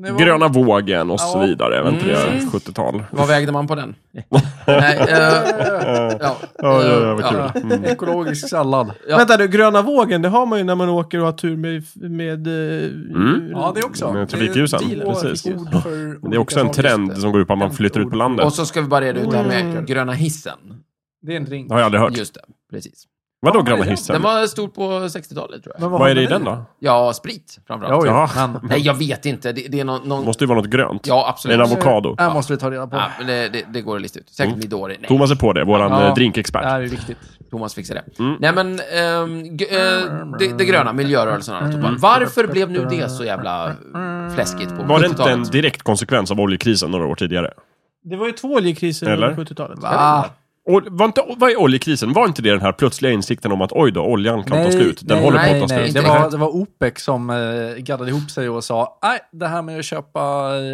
Speaker 3: Det var-
Speaker 4: Gröna vågen och så
Speaker 3: Ja.
Speaker 4: vidare. Även till
Speaker 2: Mm.
Speaker 4: 70-tal.
Speaker 2: Vad vägde man på den? nej, eh, ja,
Speaker 4: Ja, ja, ja,
Speaker 2: eh,
Speaker 4: vad kul. Mm.
Speaker 3: Ekologisk sallad.
Speaker 2: Ja.
Speaker 1: Vänta du, gröna vågen, det har man ju när man åker och har tur med... med eh,
Speaker 4: Mm.
Speaker 3: Ja, det också.
Speaker 4: Med trafikljusen,
Speaker 3: Det är två
Speaker 4: precis.
Speaker 3: ord för
Speaker 4: Men det är också en
Speaker 3: olika saker.
Speaker 4: trend som går ut på att man flyttar ut på landet.
Speaker 2: Och så ska vi bara reda ut det här med gröna hissen.
Speaker 3: Det är en drink.
Speaker 4: Det har jag aldrig hört.
Speaker 2: Just det, precis.
Speaker 4: Vadå gröna
Speaker 2: Den
Speaker 4: hissen?
Speaker 2: var stor på 60-talet tror jag.
Speaker 4: Vad är det i den då?
Speaker 2: Ja, sprit framförallt.
Speaker 3: Oj,
Speaker 4: Ja.
Speaker 3: men...
Speaker 2: Nej, jag vet inte. Det, det är någon... någon...
Speaker 4: Måste ju vara något grönt.
Speaker 2: Ja,
Speaker 4: Det är
Speaker 2: absolut.
Speaker 4: en avokado.
Speaker 3: Det här måste vi ta reda på.
Speaker 2: Ja, men det, det, det går att lista ut. Säkert Midori. Nej,
Speaker 4: Thomas är på det, våran
Speaker 3: Ja.
Speaker 4: eh, drinkexpert.
Speaker 3: Det här är viktigt.
Speaker 2: Thomas fixar det.
Speaker 4: Mm.
Speaker 2: Nej, men ehm, g- eh, det, det gröna, miljörörelsen och allt och bara, Varför blev nu det så jävla fläskigt på
Speaker 4: Var det inte en
Speaker 2: 70-talet?
Speaker 4: direkt konsekvens av oljekrisen några år tidigare?
Speaker 1: Det var ju två oljekriser
Speaker 4: Eller?
Speaker 1: under 70-talet.
Speaker 2: Ah,
Speaker 3: Va?
Speaker 4: Och var inte, vad är oljekrisen? Var inte det den här plötsliga insikten om att oj då, oljan kan ta slut. Den håller på att ta
Speaker 3: nej,
Speaker 4: slut.
Speaker 3: Det
Speaker 2: Nej.
Speaker 3: var, det var OPEC som eh, gaddade ihop sig och sa nej, det här med att köpa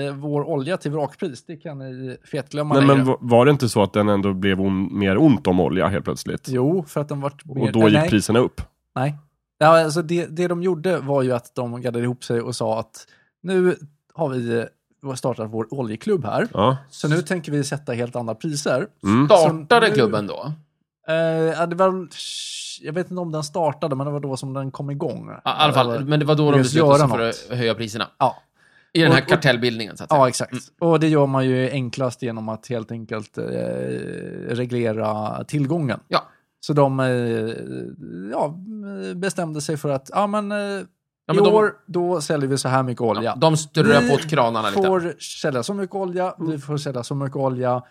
Speaker 3: eh, vår olja till vrakpris, det kan ni fetglömma
Speaker 4: Nej,
Speaker 3: längre.
Speaker 4: men va- var det inte så att den ändå blev on, mer ont om olja helt plötsligt?
Speaker 3: Jo, för att den vart mer...
Speaker 4: Och då gick
Speaker 3: nej,
Speaker 4: priserna upp.
Speaker 3: Nej. Ja, alltså det, det de gjorde var ju att de gaddade ihop sig och sa att nu har vi eh, startat vår oljeklubb här,
Speaker 4: Ja.
Speaker 3: så nu tänker vi sätta helt andra priser.
Speaker 4: Mm.
Speaker 2: Startade
Speaker 3: Så-
Speaker 2: klubben då?
Speaker 3: Eh, ja, det var, jag vet inte om den startade, men det var då som den kom igång.
Speaker 2: Ja, I alla fall, men det var då de
Speaker 3: Just
Speaker 2: beslutade sig
Speaker 3: göra
Speaker 2: för
Speaker 3: något.
Speaker 2: att höja priserna.
Speaker 3: Ja.
Speaker 2: I den här
Speaker 3: Och- och-
Speaker 2: kartellbildningen, så att säga.
Speaker 3: Ja, exakt. Och det gör man ju enklast genom att helt enkelt eh, reglera tillgången.
Speaker 2: Ja.
Speaker 3: Så de eh, ja, bestämde sig för att ja, men, eh, i
Speaker 2: men de-
Speaker 3: år då säljer vi så här mycket olja.
Speaker 2: Ja, De strör
Speaker 3: Vi
Speaker 2: på åt kranarna lite. Mm.
Speaker 3: får sälja så mycket olja, vi får sälja så mycket olja.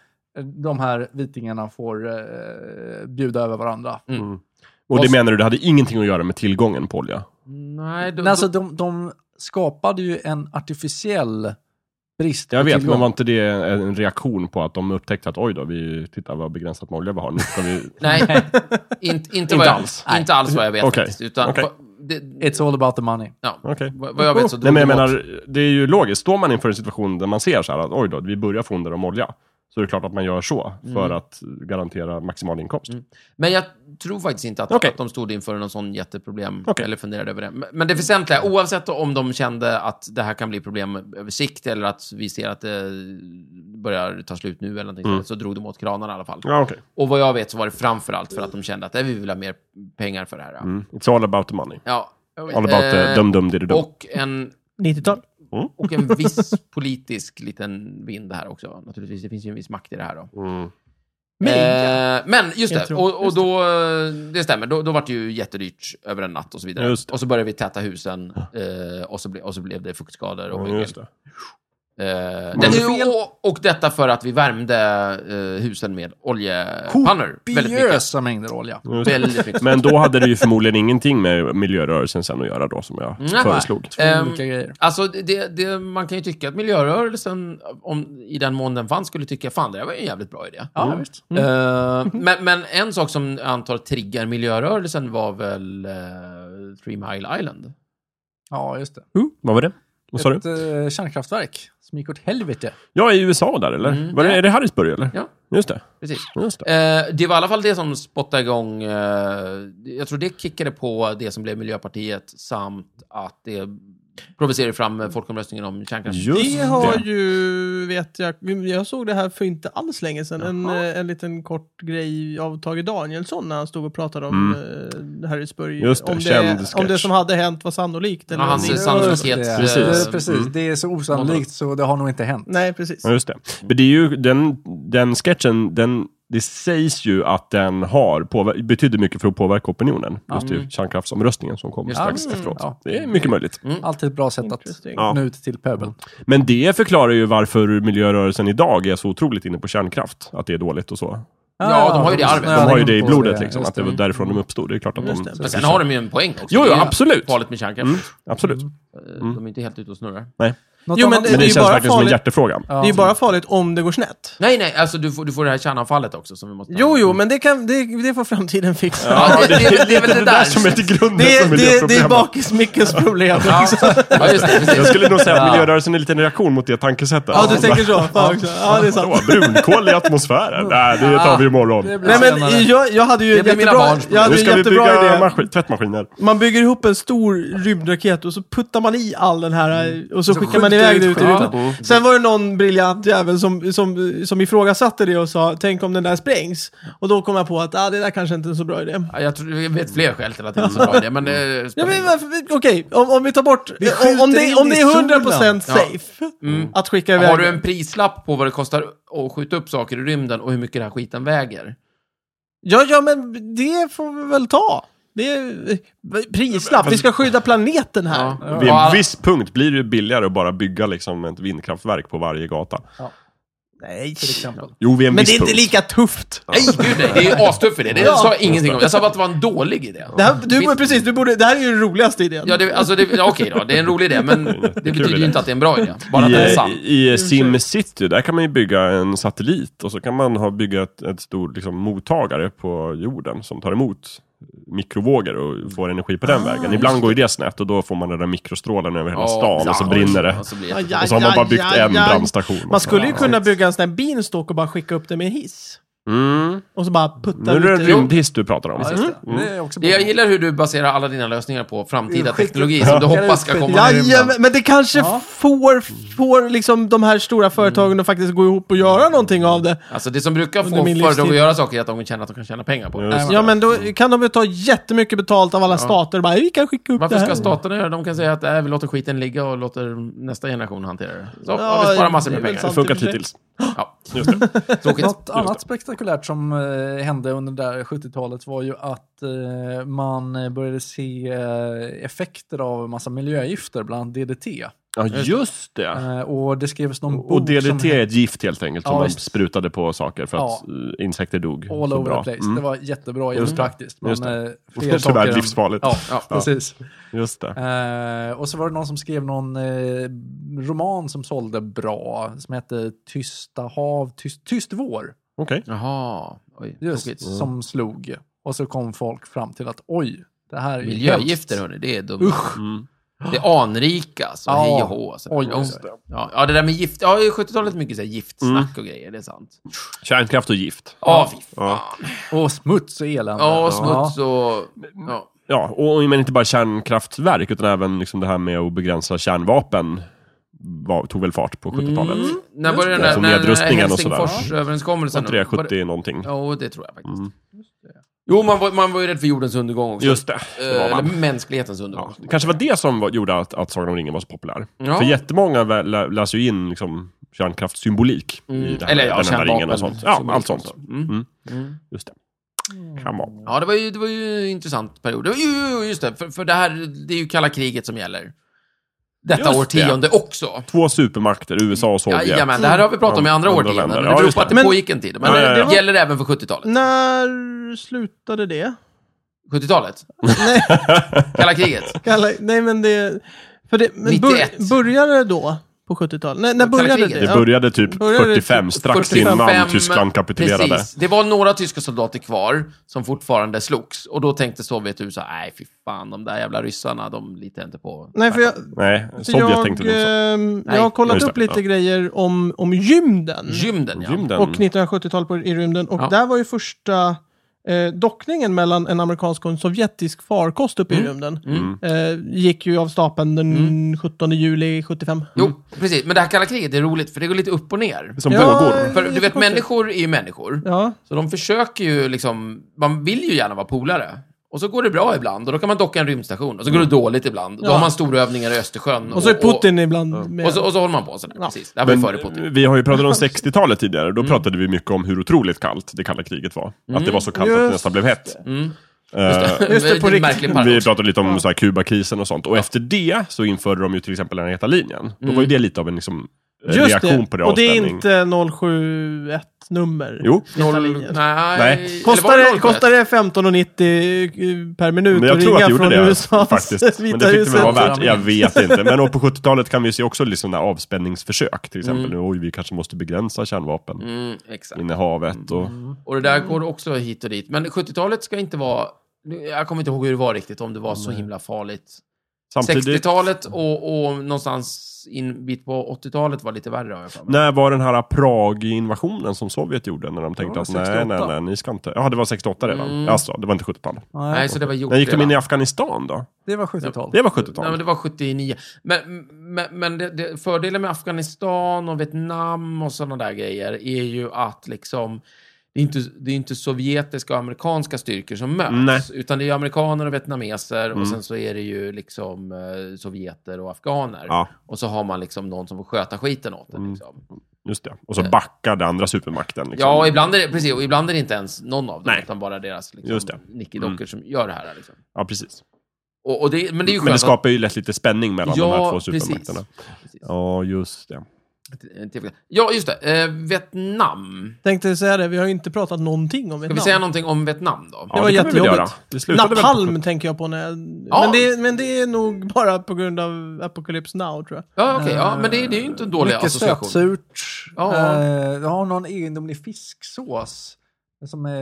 Speaker 3: De här vitingarna får eh, bjuda över varandra.
Speaker 4: Och det menar du, det hade ingenting att göra med tillgången på olja?
Speaker 2: Nej, då,
Speaker 3: Men alltså, de, de skapade ju en artificiell brist på
Speaker 4: Jag vet,
Speaker 3: tillgång.
Speaker 4: men var inte det en reaktion på att de upptäckte att oj då, vi, titta vad begränsat med olja vi har. Nu ska vi...
Speaker 2: nej inte, inte, vad
Speaker 4: Inte
Speaker 2: jag,
Speaker 4: alls.
Speaker 2: inte alls vad jag vet.
Speaker 4: Okej.
Speaker 2: faktiskt, Utan,
Speaker 4: Okej.
Speaker 2: vad- det,
Speaker 3: It's all about the money.
Speaker 2: ja,
Speaker 4: Okej.
Speaker 2: vad, vad jag vet så
Speaker 4: Nej,
Speaker 2: drog
Speaker 4: men jag
Speaker 2: de åt-
Speaker 4: menar, det är ju logiskt. Står man inför en situation där man ser så här att oj då, vi börjar få under om olja. Så är det klart att man gör så för
Speaker 2: Mm.
Speaker 4: att garantera maximal inkomst.
Speaker 2: Men jag tror faktiskt inte att,
Speaker 4: Okej.
Speaker 2: att de stod inför någon sån jätteproblem
Speaker 4: Okej.
Speaker 2: eller funderade över det. Men- Men det väsentliga, oavsett om de kände att det här kan bli problem över sikt eller att vi ser att det börjar ta slut nu eller någonting
Speaker 4: Mm.
Speaker 2: sånt, så drog de åt kranarna i alla fall.
Speaker 4: Ja, okej.
Speaker 2: Och vad jag vet så var det framför allt för att de kände att "Nej, vi vill ha mer pengar för det här.
Speaker 4: Mm. It's all about the money.
Speaker 2: Ja.
Speaker 4: All about the
Speaker 2: Eh,
Speaker 4: dum dum diddy dum.
Speaker 2: Och en,
Speaker 1: 90-tal.
Speaker 2: och en viss politisk liten vind här också. Naturligtvis, det finns ju en viss makt i det här då.
Speaker 4: Mm.
Speaker 2: Eh, men just
Speaker 1: Jag
Speaker 2: det,
Speaker 1: tror-
Speaker 2: och, och
Speaker 1: just
Speaker 2: då, eh, det stämmer, då, då var det ju jättedyrt över en natt och så vidare.
Speaker 4: Just det.
Speaker 2: Och så började vi täta husen eh, och, så ble, och så blev det fuktskador och
Speaker 4: Ja,
Speaker 2: mygel.
Speaker 4: just det. Mm.
Speaker 2: Eh, det, och, och detta för att vi värmde eh, husen med oljepannor. Väldigt mycket.
Speaker 3: Kopiösa mängder olja.
Speaker 2: Väldigt mycket.
Speaker 4: Men då hade det ju förmodligen ingenting med miljörörelsen sen att göra då, som jag
Speaker 2: Nej.
Speaker 4: föreslog.
Speaker 3: Två
Speaker 2: Ehm,
Speaker 3: olika grejer.
Speaker 2: Alltså, det, det, man kan ju tycka att miljörörelsen, om, i den mån den fanns, skulle tycka fan, det här var ju en jävligt bra idé.
Speaker 3: Ja, visst.
Speaker 4: Mm.
Speaker 2: Eh, men, men en sak som jag antar triggar miljörörelsen var väl eh, Three Mile Island?
Speaker 3: Ja, just det.
Speaker 4: Vad var det? Vad sa du?
Speaker 3: Ett eh, kärnkraftverk som gick åt helvete.
Speaker 4: Jag är i USA där, eller?
Speaker 2: Mm,
Speaker 4: var det,
Speaker 2: ja.
Speaker 4: Är det Harrisburg, eller?
Speaker 2: Ja.
Speaker 4: Just det.
Speaker 2: Precis.
Speaker 4: Just det.
Speaker 2: Eh, det var i alla fall det som spottade igång... Eh, jag tror det kickade på det som blev Miljöpartiet samt att det provocerade fram eh, folkomröstningen om kärnkraft.
Speaker 4: Just
Speaker 1: det har
Speaker 4: det.
Speaker 1: ju, vet jag, jag såg det här för inte alls länge sedan. En, eh, en liten kort grej av Tage Danielsson när han stod och pratade om eh, Harrisburg.
Speaker 4: Just det,
Speaker 1: om,
Speaker 4: känd
Speaker 1: det, om
Speaker 4: sketch.
Speaker 1: det som hade hänt var sannolikt. Eller
Speaker 2: Ja, hans
Speaker 1: om det-
Speaker 2: sann- sannolikhets-
Speaker 3: Just det.
Speaker 4: Precis.
Speaker 3: Eh, Precis.
Speaker 4: Mm.
Speaker 3: Det är så osannolikt så det har nog inte hänt.
Speaker 1: Nej, precis.
Speaker 4: Ja, just det. Men det är ju den, den sketchen, den, det sägs ju att den har påver- betyder mycket för att påverka opinionen. Just det, kärnkraftsomröstningen som kommer
Speaker 2: Just det.
Speaker 4: strax efteråt.
Speaker 3: Ja.
Speaker 4: Det är mycket möjligt.
Speaker 2: Mm.
Speaker 3: Alltid ett bra sätt att
Speaker 1: Interesting.
Speaker 4: Ja.
Speaker 3: nå ut till pöbeln.
Speaker 4: Men det förklarar ju varför miljörörelsen idag är så otroligt inne på kärnkraft. Att det är dåligt och så.
Speaker 2: Ja, de har ju det i arvet.
Speaker 4: De
Speaker 2: Ja,
Speaker 4: har ju
Speaker 3: in
Speaker 4: det i
Speaker 3: på
Speaker 4: blodet liksom,
Speaker 3: just
Speaker 4: att det var därifrån de uppstod. Det är klart att
Speaker 1: Just det.
Speaker 4: de...
Speaker 2: Men sen har de ju en poäng också.
Speaker 4: Jo,
Speaker 2: Det
Speaker 4: jo,
Speaker 2: är ju
Speaker 4: absolut.
Speaker 2: Farligt med kärnkraft.
Speaker 4: Mm, absolut.
Speaker 2: Eh, De är inte helt ute och snurrar.
Speaker 4: Nej.
Speaker 3: Något
Speaker 1: Jo,
Speaker 3: annat?
Speaker 1: men
Speaker 4: Men det,
Speaker 1: ju
Speaker 4: känns
Speaker 1: bara
Speaker 4: verkligen som en
Speaker 1: farligt-
Speaker 4: hjärtefråga.
Speaker 1: Det är ju bara farligt om det går snett.
Speaker 2: Nej, nej, alltså du får, du får det här kärnanfallet också som vi måste...
Speaker 1: Jo, jo, men det, kan, det, det får framtiden fixa.
Speaker 2: Ja, det, det, det, det är väl det där.
Speaker 4: som är typ- till grunden
Speaker 1: Det,
Speaker 4: för
Speaker 1: är- det, det är
Speaker 4: miljöproblemen.
Speaker 1: bakis-Mickes problem.
Speaker 2: Ja, ja, just det.
Speaker 4: Jag
Speaker 2: Precis.
Speaker 4: skulle nog säga att miljörörelsen är en liten reaktion mot det tankesättet.
Speaker 1: Ja, du tänker så. Fan också. Ja, det är sant.
Speaker 4: Vadå, brunkol i atmosfären? Nej, det tar vi imorgon.
Speaker 3: Det blir
Speaker 1: Nej
Speaker 3: senare.
Speaker 1: men jag, jag hade ju
Speaker 2: Det blir
Speaker 1: en
Speaker 2: mina
Speaker 1: jättebra,
Speaker 2: barns problem.
Speaker 1: jag hade
Speaker 4: Nu
Speaker 1: en
Speaker 4: ska vi bygga
Speaker 1: jättebra idé.
Speaker 4: maskin- tvättmaskiner.
Speaker 1: Man bygger ihop en stor rymdraket och så puttar man i all den här och så, skickar man
Speaker 3: Mm. skjuter
Speaker 1: iväg
Speaker 3: ut Mm.
Speaker 1: det ut i
Speaker 3: skiten.
Speaker 1: rymden. Sen var det någon briljant jävel som, som, som ifrågasatte det och sa tänk om den där sprängs. Och då kom jag på att ah, det där kanske inte är en så bra idé.
Speaker 2: Ja, jag, tror, jag vet fler skäl till att det är en så bra idé, men... eh,
Speaker 1: Ja,
Speaker 2: spelar
Speaker 1: men
Speaker 2: ingen
Speaker 1: varför, okej, om, om vi tar bort,
Speaker 3: Vi
Speaker 1: om, om,
Speaker 3: skjuter in
Speaker 1: det, om det
Speaker 3: i solen.
Speaker 1: är 100% safe att skicka iväg
Speaker 2: Mm. Har du
Speaker 1: det.
Speaker 2: en prislapp på vad det kostar att skjuta upp saker i rymden och hur mycket den här skiten väger?
Speaker 1: Ja, ja, men det får vi väl ta. Det är eh, prislapp, vi ska skydda planeten här.
Speaker 4: Vid
Speaker 2: Och
Speaker 4: en
Speaker 2: all-
Speaker 4: viss punkt blir det ju billigare att bara bygga liksom ett vindkraftverk på varje gata.
Speaker 1: Nej,
Speaker 3: Till exempel.
Speaker 4: Jo, vid en
Speaker 1: men
Speaker 4: viss
Speaker 1: det är inte
Speaker 4: punkt.
Speaker 1: lika tufft.
Speaker 2: Nej, gud nej, det är ju astuff idé. Det
Speaker 1: Ja.
Speaker 2: sa jag ingenting om. Jag sa bara att det var en dålig idé.
Speaker 1: Det här, du,
Speaker 2: Visst-
Speaker 1: men precis, du borde, det här är ju den roligaste idén.
Speaker 2: Ja, det, alltså, det, ja, okej då, det är en rolig idé, men det betyder
Speaker 4: idé.
Speaker 2: ju inte att det är en bra idé. Bara att den är sann.
Speaker 4: I, i SimCity, där kan man ju bygga en satellit och så kan man ha bygga ett, ett stort liksom, mottagare på jorden som tar emot mikrovågor och får energi på
Speaker 1: Ah,
Speaker 4: den vägen. Ibland går ju det snett och då får man den där mikrostrålen över hela
Speaker 2: Ja,
Speaker 4: stan och så
Speaker 2: ja,
Speaker 4: brinner det.
Speaker 2: och så blir
Speaker 1: Ja, Alltså,
Speaker 2: det-
Speaker 1: ja,
Speaker 4: Och så har man
Speaker 1: ja,
Speaker 4: bara byggt
Speaker 1: ja,
Speaker 4: en
Speaker 1: ja.
Speaker 4: brandstation.
Speaker 1: Man skulle ju kunna bygga en sån här beanstalk och bara skicka upp den med en hiss.
Speaker 4: Mm.
Speaker 1: Och så bara putta
Speaker 4: Nu är det
Speaker 1: ut
Speaker 4: en
Speaker 1: det.
Speaker 4: rymdhiss du pratar om.
Speaker 3: Ja, just det. Det är också
Speaker 2: Det Mm. Jag gillar hur du baserar alla dina lösningar på framtida
Speaker 3: Skick-
Speaker 2: teknologi som du hoppas ska komma i rymden.
Speaker 1: Jajamän, men det kanske får, får liksom de här stora företagen att faktiskt gå ihop och göra någonting av det.
Speaker 2: Alltså det som brukar
Speaker 1: Under
Speaker 2: få
Speaker 1: min
Speaker 2: företag att
Speaker 1: livstid.
Speaker 2: göra saker är att de känner att de kan tjäna pengar på det.
Speaker 4: Just det.
Speaker 1: Ja men då kan de ju ta jättemycket betalt av alla stater och bara vi kan skicka upp
Speaker 2: Varför
Speaker 1: det här.
Speaker 2: ska staterna göra det? De kan säga att äh, vi låter skiten ligga och låter nästa generation hantera det. Så ja,
Speaker 1: Ja,
Speaker 2: vi sparar massor
Speaker 1: det
Speaker 2: med
Speaker 1: är väl
Speaker 2: pengar.
Speaker 4: Det har funkat hittills.
Speaker 2: Ja,
Speaker 4: Just det.
Speaker 2: tråkigt.
Speaker 3: Något annat spektakulärt som eh, hände under det där 70-talet var ju att eh, man eh, började se eh, effekter av massa miljögifter, bland annat DDT.
Speaker 4: Ja, just det.
Speaker 3: Eh, och det skrevs någon
Speaker 4: Ah. Och
Speaker 3: bok som
Speaker 4: DDT
Speaker 3: hette
Speaker 4: är ett gift helt enkelt som
Speaker 3: Ja,
Speaker 4: man
Speaker 3: visst.
Speaker 4: sprutade på saker för att eh, insekter dog.
Speaker 3: All
Speaker 4: så
Speaker 3: over
Speaker 4: bra.
Speaker 3: the place.
Speaker 4: Mm,
Speaker 3: Det var jättebra,
Speaker 4: Just det.
Speaker 3: jättepraktiskt. Men
Speaker 4: Just det.
Speaker 3: eh, fler
Speaker 4: Tyvärr
Speaker 3: saker än-
Speaker 4: livsfarligt.
Speaker 3: Ja,
Speaker 2: Ja.
Speaker 3: precis.
Speaker 4: Just det.
Speaker 3: Eh, och så var det någon som skrev någon eh, roman som sålde bra, som hette Tysta hav, tyst, tyst vår.
Speaker 4: Okej.
Speaker 2: Jaha. Oj,
Speaker 3: Just,
Speaker 2: tråkigt. Mm.
Speaker 3: som slog. Och så kom folk fram till att oj, det här är ju
Speaker 2: Miljögifter,
Speaker 3: hemskt.
Speaker 2: hörni, det är dumt.
Speaker 3: Usch.
Speaker 4: Mm.
Speaker 2: Det är anrika, så
Speaker 3: Ja.
Speaker 2: hej och hå. Så.
Speaker 3: Oj,
Speaker 2: Ja.
Speaker 3: just det.
Speaker 2: ja, ja, det där med gift. Ja, i 70-talet mycket så här giftsnack och grejer, det är sant.
Speaker 4: Kärnkraft och gift.
Speaker 2: Ja, fy fan.
Speaker 4: Ja.
Speaker 3: Och smuts och elände.
Speaker 2: Ja, och smuts och... Ja.
Speaker 4: Ja, och och- men inte bara kärnkraftverk utan även liksom det här med att begränsa kärnvapen var, tog väl fart på
Speaker 3: Mm.
Speaker 4: 70-talet.
Speaker 2: När började den
Speaker 4: Alltså
Speaker 2: där, när den där
Speaker 4: nedrustningen och sådär. E
Speaker 2: Helsingforsöverenskommelsen?
Speaker 4: Var inte det
Speaker 2: Var det-
Speaker 4: 70 någonting?
Speaker 2: Ja, det tror jag faktiskt. Jo, man var, man var ju rädd för jordens undergång också.
Speaker 4: Mm. Just det. det
Speaker 2: Eh,
Speaker 4: var
Speaker 2: Eller
Speaker 4: man.
Speaker 2: mänsklighetens undergång.
Speaker 4: Ja, det kanske var det som var, gjorde att, att Sagan om ringen var så populär.
Speaker 2: Ja.
Speaker 4: För jättemånga vä- lä, läser ju in liksom, kärnkraftssymbolik i det här,
Speaker 2: Mm. Eller, ja,
Speaker 4: den här
Speaker 2: kärnvapen-
Speaker 4: ringen och sånt. Ja,
Speaker 2: symbolik
Speaker 4: allt
Speaker 2: och
Speaker 4: sånt.
Speaker 2: så.
Speaker 4: Mm. Just det. Kan vara.
Speaker 2: Ja, det var ju, det var ju en intressant period. Det var ju, just det, för, för det här, det är ju kalla kriget som gäller. detta
Speaker 4: Just det.
Speaker 2: årtionde också.
Speaker 4: Två supermakter, USA och Sovjet.
Speaker 2: Jajamän, det här har vi pratat om i andra
Speaker 4: Andra
Speaker 2: årtionden.
Speaker 4: länder.
Speaker 2: men
Speaker 4: Ja,
Speaker 2: Det beror
Speaker 4: just
Speaker 2: på att
Speaker 1: det.
Speaker 2: det
Speaker 1: Men-
Speaker 2: pågick en tid. Men
Speaker 4: Ja, ja, ja.
Speaker 2: det gäller även för 70-talet.
Speaker 1: När slutade det?
Speaker 2: 70-talet?
Speaker 1: Nej.
Speaker 2: Kalla kriget?
Speaker 1: Kalla, nej, men det... För det men
Speaker 2: 91.
Speaker 1: bör, började det då? På 70-talet? Nej, när
Speaker 2: Kalla
Speaker 1: började det?
Speaker 2: kriget.
Speaker 4: Det
Speaker 1: Ja.
Speaker 4: började typ
Speaker 1: Började det
Speaker 4: 45, strax innan Tyskland kapitulerade.
Speaker 2: Precis. Det var några tyska soldater kvar som fortfarande slogs. Och då tänkte Sovjet och USA, nej fy fan, de där jävla ryssarna, de litar jag inte
Speaker 4: Mm.
Speaker 2: på.
Speaker 1: Nej, för jag,
Speaker 4: Nej,
Speaker 1: för
Speaker 4: Sovjet
Speaker 1: jag,
Speaker 4: tänkte nog så.
Speaker 1: ehm,
Speaker 2: Nej.
Speaker 1: jag har kollat
Speaker 4: Just
Speaker 1: upp
Speaker 4: det,
Speaker 1: lite
Speaker 4: ja.
Speaker 1: grejer om, om rymden.
Speaker 2: Gymden, ja.
Speaker 4: Rymden.
Speaker 1: Och 1970-talet på- i rymden. Och
Speaker 2: Ja.
Speaker 1: där var ju första eh, dockningen mellan en amerikansk och en sovjetisk farkost uppe
Speaker 2: Mm.
Speaker 1: i rymden. Eh, gick ju av stapeln den 17 juli 75.
Speaker 2: Jo, precis. Men det här kalla kriget är roligt, för det går lite upp och ner.
Speaker 4: Som
Speaker 1: Ja,
Speaker 4: vågor.
Speaker 2: För du vet,
Speaker 1: jättekonstigt.
Speaker 2: människor är ju människor.
Speaker 1: Ja.
Speaker 2: Så de försöker ju liksom, man vill ju gärna vara polare. Och så går det bra ibland och då kan man docka en rymdstation. Och så går det dåligt ibland. Då
Speaker 1: Mm. Ja.
Speaker 2: har man storövningar i Östersjön.
Speaker 1: Och så är Putin ibland med.
Speaker 2: Och, och, så, och så håller man på sådär,
Speaker 1: Ja.
Speaker 2: precis. Det Mm. här var ju före Putin.
Speaker 4: Men vi har ju pratat om 60-talet tidigare. Då pratade vi mycket om hur otroligt kallt det kalla kriget var. Att
Speaker 2: Mm.
Speaker 4: det var så kallt att det
Speaker 1: Just
Speaker 4: nästan blev hett. Eh,
Speaker 1: Just det, på
Speaker 2: en
Speaker 1: riktigt.
Speaker 2: märklig
Speaker 4: vi
Speaker 2: paradox.
Speaker 4: pratade lite om så här Kubakrisen och sånt. Och efter det så införde de ju till exempel den heta linjen. Då var ju det lite av en liksom, eh,
Speaker 1: Just
Speaker 4: reaktion
Speaker 1: det.
Speaker 4: på det
Speaker 1: och det är
Speaker 4: avställning.
Speaker 1: inte 071-nummer.
Speaker 4: Jo,
Speaker 2: Noll,
Speaker 1: Italienien.
Speaker 2: nej,
Speaker 4: Nej.
Speaker 2: eller var
Speaker 1: Kostar
Speaker 2: det
Speaker 1: det,
Speaker 2: noll
Speaker 1: kostar
Speaker 2: ett?
Speaker 1: det 15,90 eh, per minut
Speaker 4: men jag
Speaker 1: att
Speaker 4: tror att
Speaker 1: ringa
Speaker 4: det gjorde
Speaker 1: från
Speaker 4: det
Speaker 1: USA?
Speaker 4: faktiskt. Men det fick det väl vara värt. Jag vet inte. Men och på 70-talet kan vi se också liksom den här avspänningsförsök. Till exempel, nu, oj, vi kanske måste begränsa kärnvapen.
Speaker 2: Mm, exakt.
Speaker 4: Innehavet och...
Speaker 2: Och det där
Speaker 1: Mm.
Speaker 2: går också hit och dit. Men 70-talet ska inte vara... nu- Jag kommer inte ihåg hur det var riktigt, om det var så himla farligt.
Speaker 4: Samtidigt,
Speaker 2: 60-talet och, och någonstans in bit på 80-talet var lite värre har jag för mig.
Speaker 4: när var den här Prag-invasionen som Sovjet gjorde? När de tänkte
Speaker 3: var
Speaker 4: att nej, nej,
Speaker 3: 68.
Speaker 4: nej, ni ska inte... Ja, det var 68 redan.
Speaker 2: Mm.
Speaker 4: Alltså, det var inte 70-tal.
Speaker 2: Nej, så det var gjort
Speaker 4: När gick de
Speaker 2: redan.
Speaker 4: in i Afghanistan då?
Speaker 3: Det var 70-tal.
Speaker 4: Det
Speaker 2: Nej,
Speaker 4: var
Speaker 2: men
Speaker 4: 70-tal.
Speaker 2: det var 79. Men, men, men det, det, fördelen med Afghanistan och Vietnam och sådana där grejer är ju att liksom det är, inte, det är inte sovjetiska och amerikanska styrkor som möts,
Speaker 4: Nej. Mm.
Speaker 2: utan det är amerikaner och vietnameser och sen så är det ju liksom eh, sovjeter och afghaner.
Speaker 4: Ja, Mm.
Speaker 2: Och så har man liksom någon som får sköta skiten åt det. Liksom.
Speaker 4: just det. Och så backade andra supermakten. Liksom.
Speaker 2: Ja, och ibland, är det, precis, och ibland är det inte ens någon av dem,
Speaker 4: Nej.
Speaker 2: utan bara deras
Speaker 4: Just
Speaker 2: liksom,
Speaker 4: det. Mm.
Speaker 2: nickedockor som gör det här. Liksom.
Speaker 4: ja, precis.
Speaker 2: Och, och det, men det är ju
Speaker 4: Men det
Speaker 2: skönt att-
Speaker 4: skapar ju lätt lite spänning mellan de här två
Speaker 2: precis.
Speaker 4: supermakterna.
Speaker 2: Precis.
Speaker 4: Ja, just det.
Speaker 2: Ja, just det. Eh, Vietnam.
Speaker 1: Tänkte säga det, vi har ju inte pratat någonting om
Speaker 2: Ska vi
Speaker 1: Vietnam.
Speaker 2: säga någonting om Vietnam då?
Speaker 1: var
Speaker 4: Ja, kan vi väl
Speaker 1: jättejobbigt.
Speaker 4: göra. Det slutade väl på-
Speaker 1: Napalm tänker jag på när jag...
Speaker 2: Ja.
Speaker 1: Men, det, men det är nog bara på grund av Apocalypse Now tror jag.
Speaker 2: Ja, okej. ja, men det, det är ju inte en dålig
Speaker 3: Mycket
Speaker 2: association.
Speaker 3: sötsurt.
Speaker 2: Ja.
Speaker 3: Eh, det har någon egendomlig fisksås som är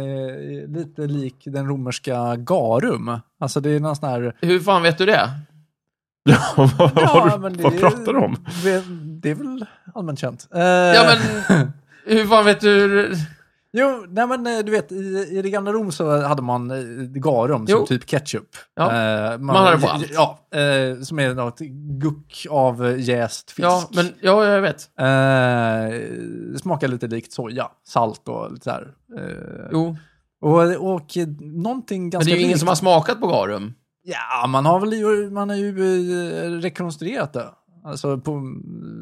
Speaker 3: eh, lite lik den romerska garum. Alltså det är någon sån här...
Speaker 2: Hur fan vet du det?
Speaker 4: Ja, vad, vad har du,
Speaker 3: men det
Speaker 4: vad
Speaker 3: är-
Speaker 4: pratar du om?
Speaker 3: Det, det är väl allmänt känt. Eh,
Speaker 2: Ja, men... Hur fan vet du? hur-
Speaker 3: Jo, nej men eh, du vet, i, i det gamla Rom så hade man eh, garum
Speaker 2: Jo.
Speaker 3: som typ ketchup.
Speaker 2: Ja.
Speaker 3: Eh,
Speaker 2: Man hade på allt.
Speaker 3: Ja, eh, som är något guck av eh, jäst fisk.
Speaker 2: Ja, men, ja, jag vet.
Speaker 3: Eh, smakar lite likt soja, salt och lite så här. Eh,
Speaker 2: Jo.
Speaker 3: och, och eh, någonting
Speaker 2: Men
Speaker 3: ganska
Speaker 2: det är ju ingen
Speaker 3: likt.
Speaker 2: som har smakat på garum.
Speaker 3: Ja, man har väl ju- man har ju eh, rekonstruerat det. Alltså på,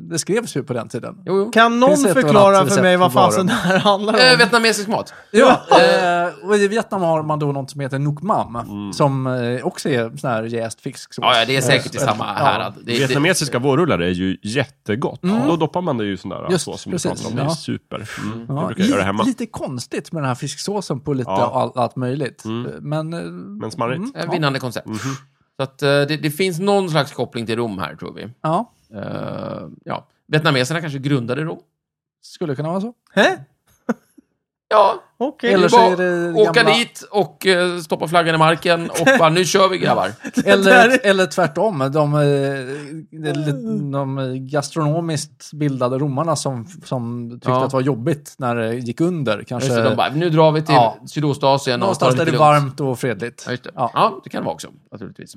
Speaker 3: det skrevs ju på den tiden.
Speaker 2: Jo, jo.
Speaker 1: Kan någon
Speaker 3: Finns det ett
Speaker 1: förklara
Speaker 3: annat
Speaker 1: för mig
Speaker 3: recept
Speaker 1: vad
Speaker 3: på varum?
Speaker 1: fasen det här handlar om?
Speaker 2: Eh, vietnamesisk mat.
Speaker 3: Ja, eh, och i Vietnam har man då något som heter Nuc Mam, som eh, också är sån här jäst fisksås. Eh,
Speaker 2: Ja, ja, det är säkert i samma härad. Det, det,
Speaker 4: Vietnamesiska vårrullar är ju jättegott. Då doppar man det ju i sån där
Speaker 3: Just,
Speaker 4: sås som
Speaker 3: precis.
Speaker 4: du pratar om. Det är
Speaker 3: Ja.
Speaker 4: super. Mm.
Speaker 3: Ja,
Speaker 4: Jag brukar göra det hemma.
Speaker 3: Lite konstigt med den här fisksåsen på lite
Speaker 4: Ja.
Speaker 3: all, allt möjligt. Men... eh,
Speaker 4: Men smarrigt.
Speaker 2: är ett vinnande koncept. Så att, eh, det, det finns någon slags koppling till Rom här, tror vi.
Speaker 3: Ja,
Speaker 2: Eh, ja. Vietnameserna kanske grundade Rom.
Speaker 3: skulle kunna vara så.
Speaker 1: Hä?
Speaker 2: Ja,
Speaker 1: Okej.
Speaker 3: Eller
Speaker 2: Eller
Speaker 3: så
Speaker 2: bara
Speaker 3: är det
Speaker 2: åka
Speaker 3: gamla-
Speaker 2: dit och eh, stoppa flaggan i marken och bara nu kör vi grabbar.
Speaker 3: Eller,
Speaker 1: där-
Speaker 3: eller tvärtom, de, eh, de, de gastronomiskt bildade romarna som, som tyckte
Speaker 2: Ja.
Speaker 3: att det var jobbigt när det gick under.
Speaker 2: Just
Speaker 3: Kanske
Speaker 2: det, de bara, nu drar vi till
Speaker 3: Ja.
Speaker 2: Sydostasien och tar
Speaker 3: någonstans
Speaker 2: det
Speaker 3: där det
Speaker 2: lite
Speaker 3: är
Speaker 2: lugnt.
Speaker 3: varmt och fredligt.
Speaker 2: Ja, just det.
Speaker 3: Ja.
Speaker 2: Ja. det kan det vara också, naturligtvis.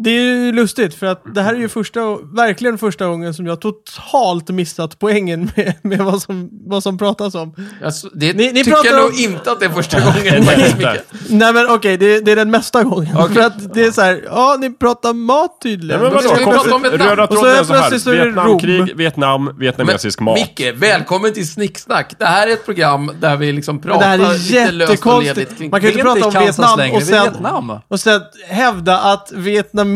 Speaker 1: Det är ju lustigt för att det här är ju första, verkligen första gången som jag totalt missat poängen med, med vad, som, vad som pratas om.
Speaker 2: Alltså, det
Speaker 1: Ni- ni
Speaker 2: tycker
Speaker 1: pratar
Speaker 2: jag
Speaker 1: om-
Speaker 2: nog inte att det är första gången. Tack så mycket.
Speaker 1: Nej men okej, det, det är den mesta gången.
Speaker 2: Okej.
Speaker 1: För att det är så här, ja ni pratar mat
Speaker 4: Ja,
Speaker 1: tydligen.
Speaker 4: men vadå?
Speaker 2: ska vi
Speaker 4: Kom-
Speaker 2: prata om Vietnam.
Speaker 4: Röda
Speaker 1: Och så
Speaker 4: tråden är
Speaker 1: helt
Speaker 4: så här.
Speaker 1: plötsligt så är det
Speaker 4: Vietnamkrig,
Speaker 1: Rom.
Speaker 4: Vietnam, vietnamesisk
Speaker 2: Men,
Speaker 4: mat.
Speaker 2: Micke, välkommen till Snicksnack. Det här är ett program där vi liksom
Speaker 1: Men
Speaker 2: pratar
Speaker 1: det här är
Speaker 2: lite löst och ledigt
Speaker 1: jättekonstigt.
Speaker 2: kring...
Speaker 1: Man kan ju
Speaker 3: Det är
Speaker 1: inte prata
Speaker 3: inte
Speaker 1: om Vietnam
Speaker 3: Kansas längre,
Speaker 1: och
Speaker 3: det är
Speaker 1: sen,
Speaker 3: Vietnam.
Speaker 1: och sen hävda att vietnameserna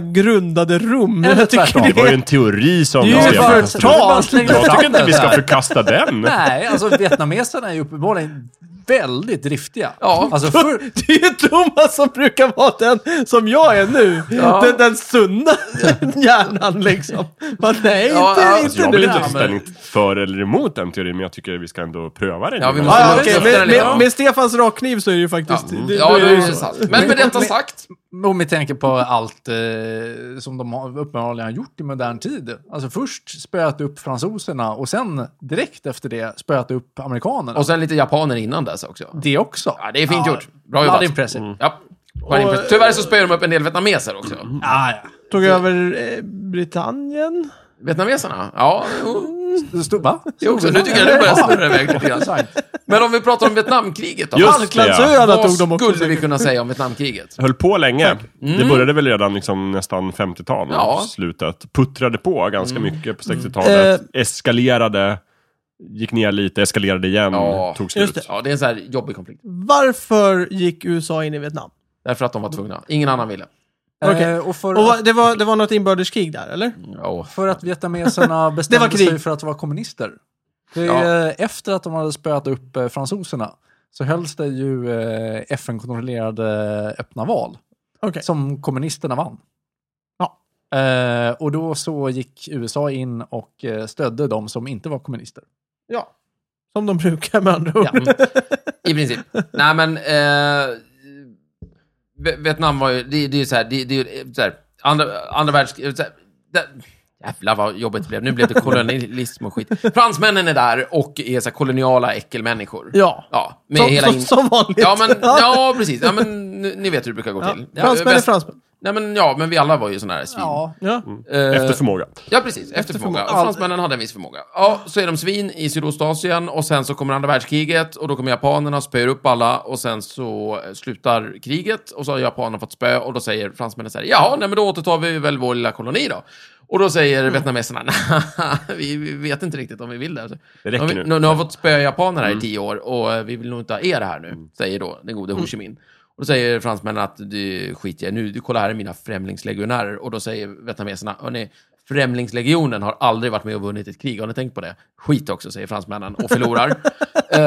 Speaker 1: grundade rum.
Speaker 3: Eller
Speaker 1: Jag tycker
Speaker 3: tvärtom.
Speaker 4: Det
Speaker 1: det
Speaker 4: var ju
Speaker 1: är...
Speaker 4: en teori som...
Speaker 1: Det är ju
Speaker 4: Ja,
Speaker 1: ett
Speaker 4: jag-
Speaker 1: förtal.
Speaker 3: Bara slänga
Speaker 4: Jag
Speaker 3: ut
Speaker 4: tycker inte
Speaker 3: den
Speaker 4: vi ska
Speaker 3: där.
Speaker 4: förkasta den.
Speaker 3: Nej, alltså vietnameserna är ju uppenbarligen väldigt driftiga.
Speaker 2: Ja.
Speaker 3: Alltså för,
Speaker 1: Det är ju Thomas som brukar vara den som jag är nu.
Speaker 2: Ja.
Speaker 1: Den, den sunda hjärnan liksom. Men nej,
Speaker 2: Ja,
Speaker 1: inte,
Speaker 2: ja,
Speaker 1: inte
Speaker 4: Alltså, jag
Speaker 1: nu.
Speaker 4: vill inte ta
Speaker 1: Ja, men-
Speaker 4: ställning för eller emot den teorin, men jag tycker vi ska ändå pröva den.
Speaker 2: Ja, vi
Speaker 4: innan.
Speaker 2: måste-
Speaker 1: Ja, ja,
Speaker 2: Så
Speaker 1: okej.
Speaker 2: måste
Speaker 1: Med,
Speaker 2: det leva.
Speaker 1: med, med Stefans rakkniv så är det ju faktiskt...
Speaker 2: Ja, mm.
Speaker 1: det-
Speaker 2: ja
Speaker 1: då är
Speaker 2: det
Speaker 1: det
Speaker 2: är
Speaker 1: ju
Speaker 2: ju
Speaker 1: så.
Speaker 2: sant. Men med detta sagt,
Speaker 3: om vi tänker på allt eh, som de har, uppenbarligen har gjort i modern tid. Alltså först spöat upp fransoserna och sen direkt efter det spöat upp amerikanerna.
Speaker 2: och sen lite japaner innan dess också.
Speaker 3: det också.
Speaker 2: Ja, det är fint
Speaker 3: Ja,
Speaker 2: gjort. Bra
Speaker 3: Ja,
Speaker 2: jobbat.
Speaker 3: det är impressive.
Speaker 2: Ja. Quite impressive. Tyvärr så spöar de upp en del vietnameser också.
Speaker 3: Ah, ja.
Speaker 1: Tog över eh, Britannien.
Speaker 2: Vietnameserna? Ja, jo.
Speaker 3: Det stod, va?
Speaker 2: Det också. Nu tycker jag det börjar snurra iväg lite grann. Men om vi pratar om Vietnamkriget då?
Speaker 4: Just det, ja.
Speaker 1: Falklandsöarna tog de
Speaker 2: Vad
Speaker 1: också.
Speaker 2: skulle vi kunna säga om Vietnamkriget?
Speaker 4: höll på länge. Det började väl redan liksom nästan 50-tal,
Speaker 2: Ja.
Speaker 4: slutet. Puttrade på ganska mycket på 60-talet.
Speaker 1: Eh.
Speaker 4: Eskalerade, gick ner lite, eskalerade igen,
Speaker 2: Ja,
Speaker 4: Mm, tog
Speaker 1: just
Speaker 4: slut.
Speaker 1: det.
Speaker 2: Ja, det är en så här jobbig konflikt.
Speaker 1: Varför gick USA in i Vietnam?
Speaker 2: Därför att de var tvungna. Ingen annan ville.
Speaker 1: Okej.
Speaker 3: Eh, och för,
Speaker 1: Och vad- det, var, det var något inbördeskrig där, eller?
Speaker 2: Ja.
Speaker 3: för att vietnameserna
Speaker 1: Det var
Speaker 3: bestämde
Speaker 1: krig.
Speaker 3: sig för att vara kommunister. Det,
Speaker 2: Ja.
Speaker 3: eh, Efter att de hade spöat upp eh, fransoserna så hölls det ju eh, FN-kontrollerade öppna val.
Speaker 1: Okej.
Speaker 3: som kommunisterna vann.
Speaker 1: Ja.
Speaker 3: Eh, och då så gick USA in och eh, stödde de som inte var kommunister.
Speaker 1: Ja. Som de brukar med andra ord.
Speaker 3: Ja.
Speaker 2: Mm. I princip. Nej, men... Eh, Vi- Vietnam var ju... Det, det är ju så här... Det, det är ju eh, så här andra, andra världskriget... så här, det- Jävlar vad jobbigt det blev. Nu blev det kolonialism och skit. Fransmännen är där och är så här koloniala äckelmänniskor.
Speaker 1: Ja.
Speaker 2: Ja, med
Speaker 1: Som,
Speaker 2: hela
Speaker 1: som,
Speaker 2: in-
Speaker 1: som vanligt.
Speaker 2: Ja, men, ja, precis. Ja, men, ni- ni vet hur det brukar gå
Speaker 1: Ja.
Speaker 2: till. Ja,
Speaker 1: Fransmän är
Speaker 2: väst-
Speaker 1: fransmän.
Speaker 2: Nej, men ja, men vi alla var ju såna här svin.
Speaker 3: Ja.
Speaker 1: Ja.
Speaker 2: Eh,
Speaker 4: Efter förmåga.
Speaker 2: Ja, precis. Efter förmåga.
Speaker 1: förmåga.
Speaker 2: Fransmännen hade en viss förmåga. Ja, så är de svin i Sydostasien och sen så kommer andra världskriget och då kommer japanerna, spöar upp alla och sen så eh, slutar kriget och så har japanerna fått spö och då säger fransmännen så här, jaha, nej men då återtar vi väl vår lilla koloni då. Och då säger vietnameserna, "Nej, vi vi vet inte riktigt om vi vill det. här."
Speaker 4: Det räcker
Speaker 2: Ja, vi-
Speaker 4: nu.
Speaker 2: Nu, nu har vi fått spöa japaner här i tio år och eh, vi vill nog inte ha er här nu, säger då den gode Ho Chi Minh. Och då säger fransmännen att du skit i er nu, du kollar här är mina främlingslegionärer. Och då säger vietnameserna, hörni, främlingslegionen har aldrig varit med och vunnit ett krig, har ni tänkt på det? Skit också, säger fransmännen och förlorar. Eh,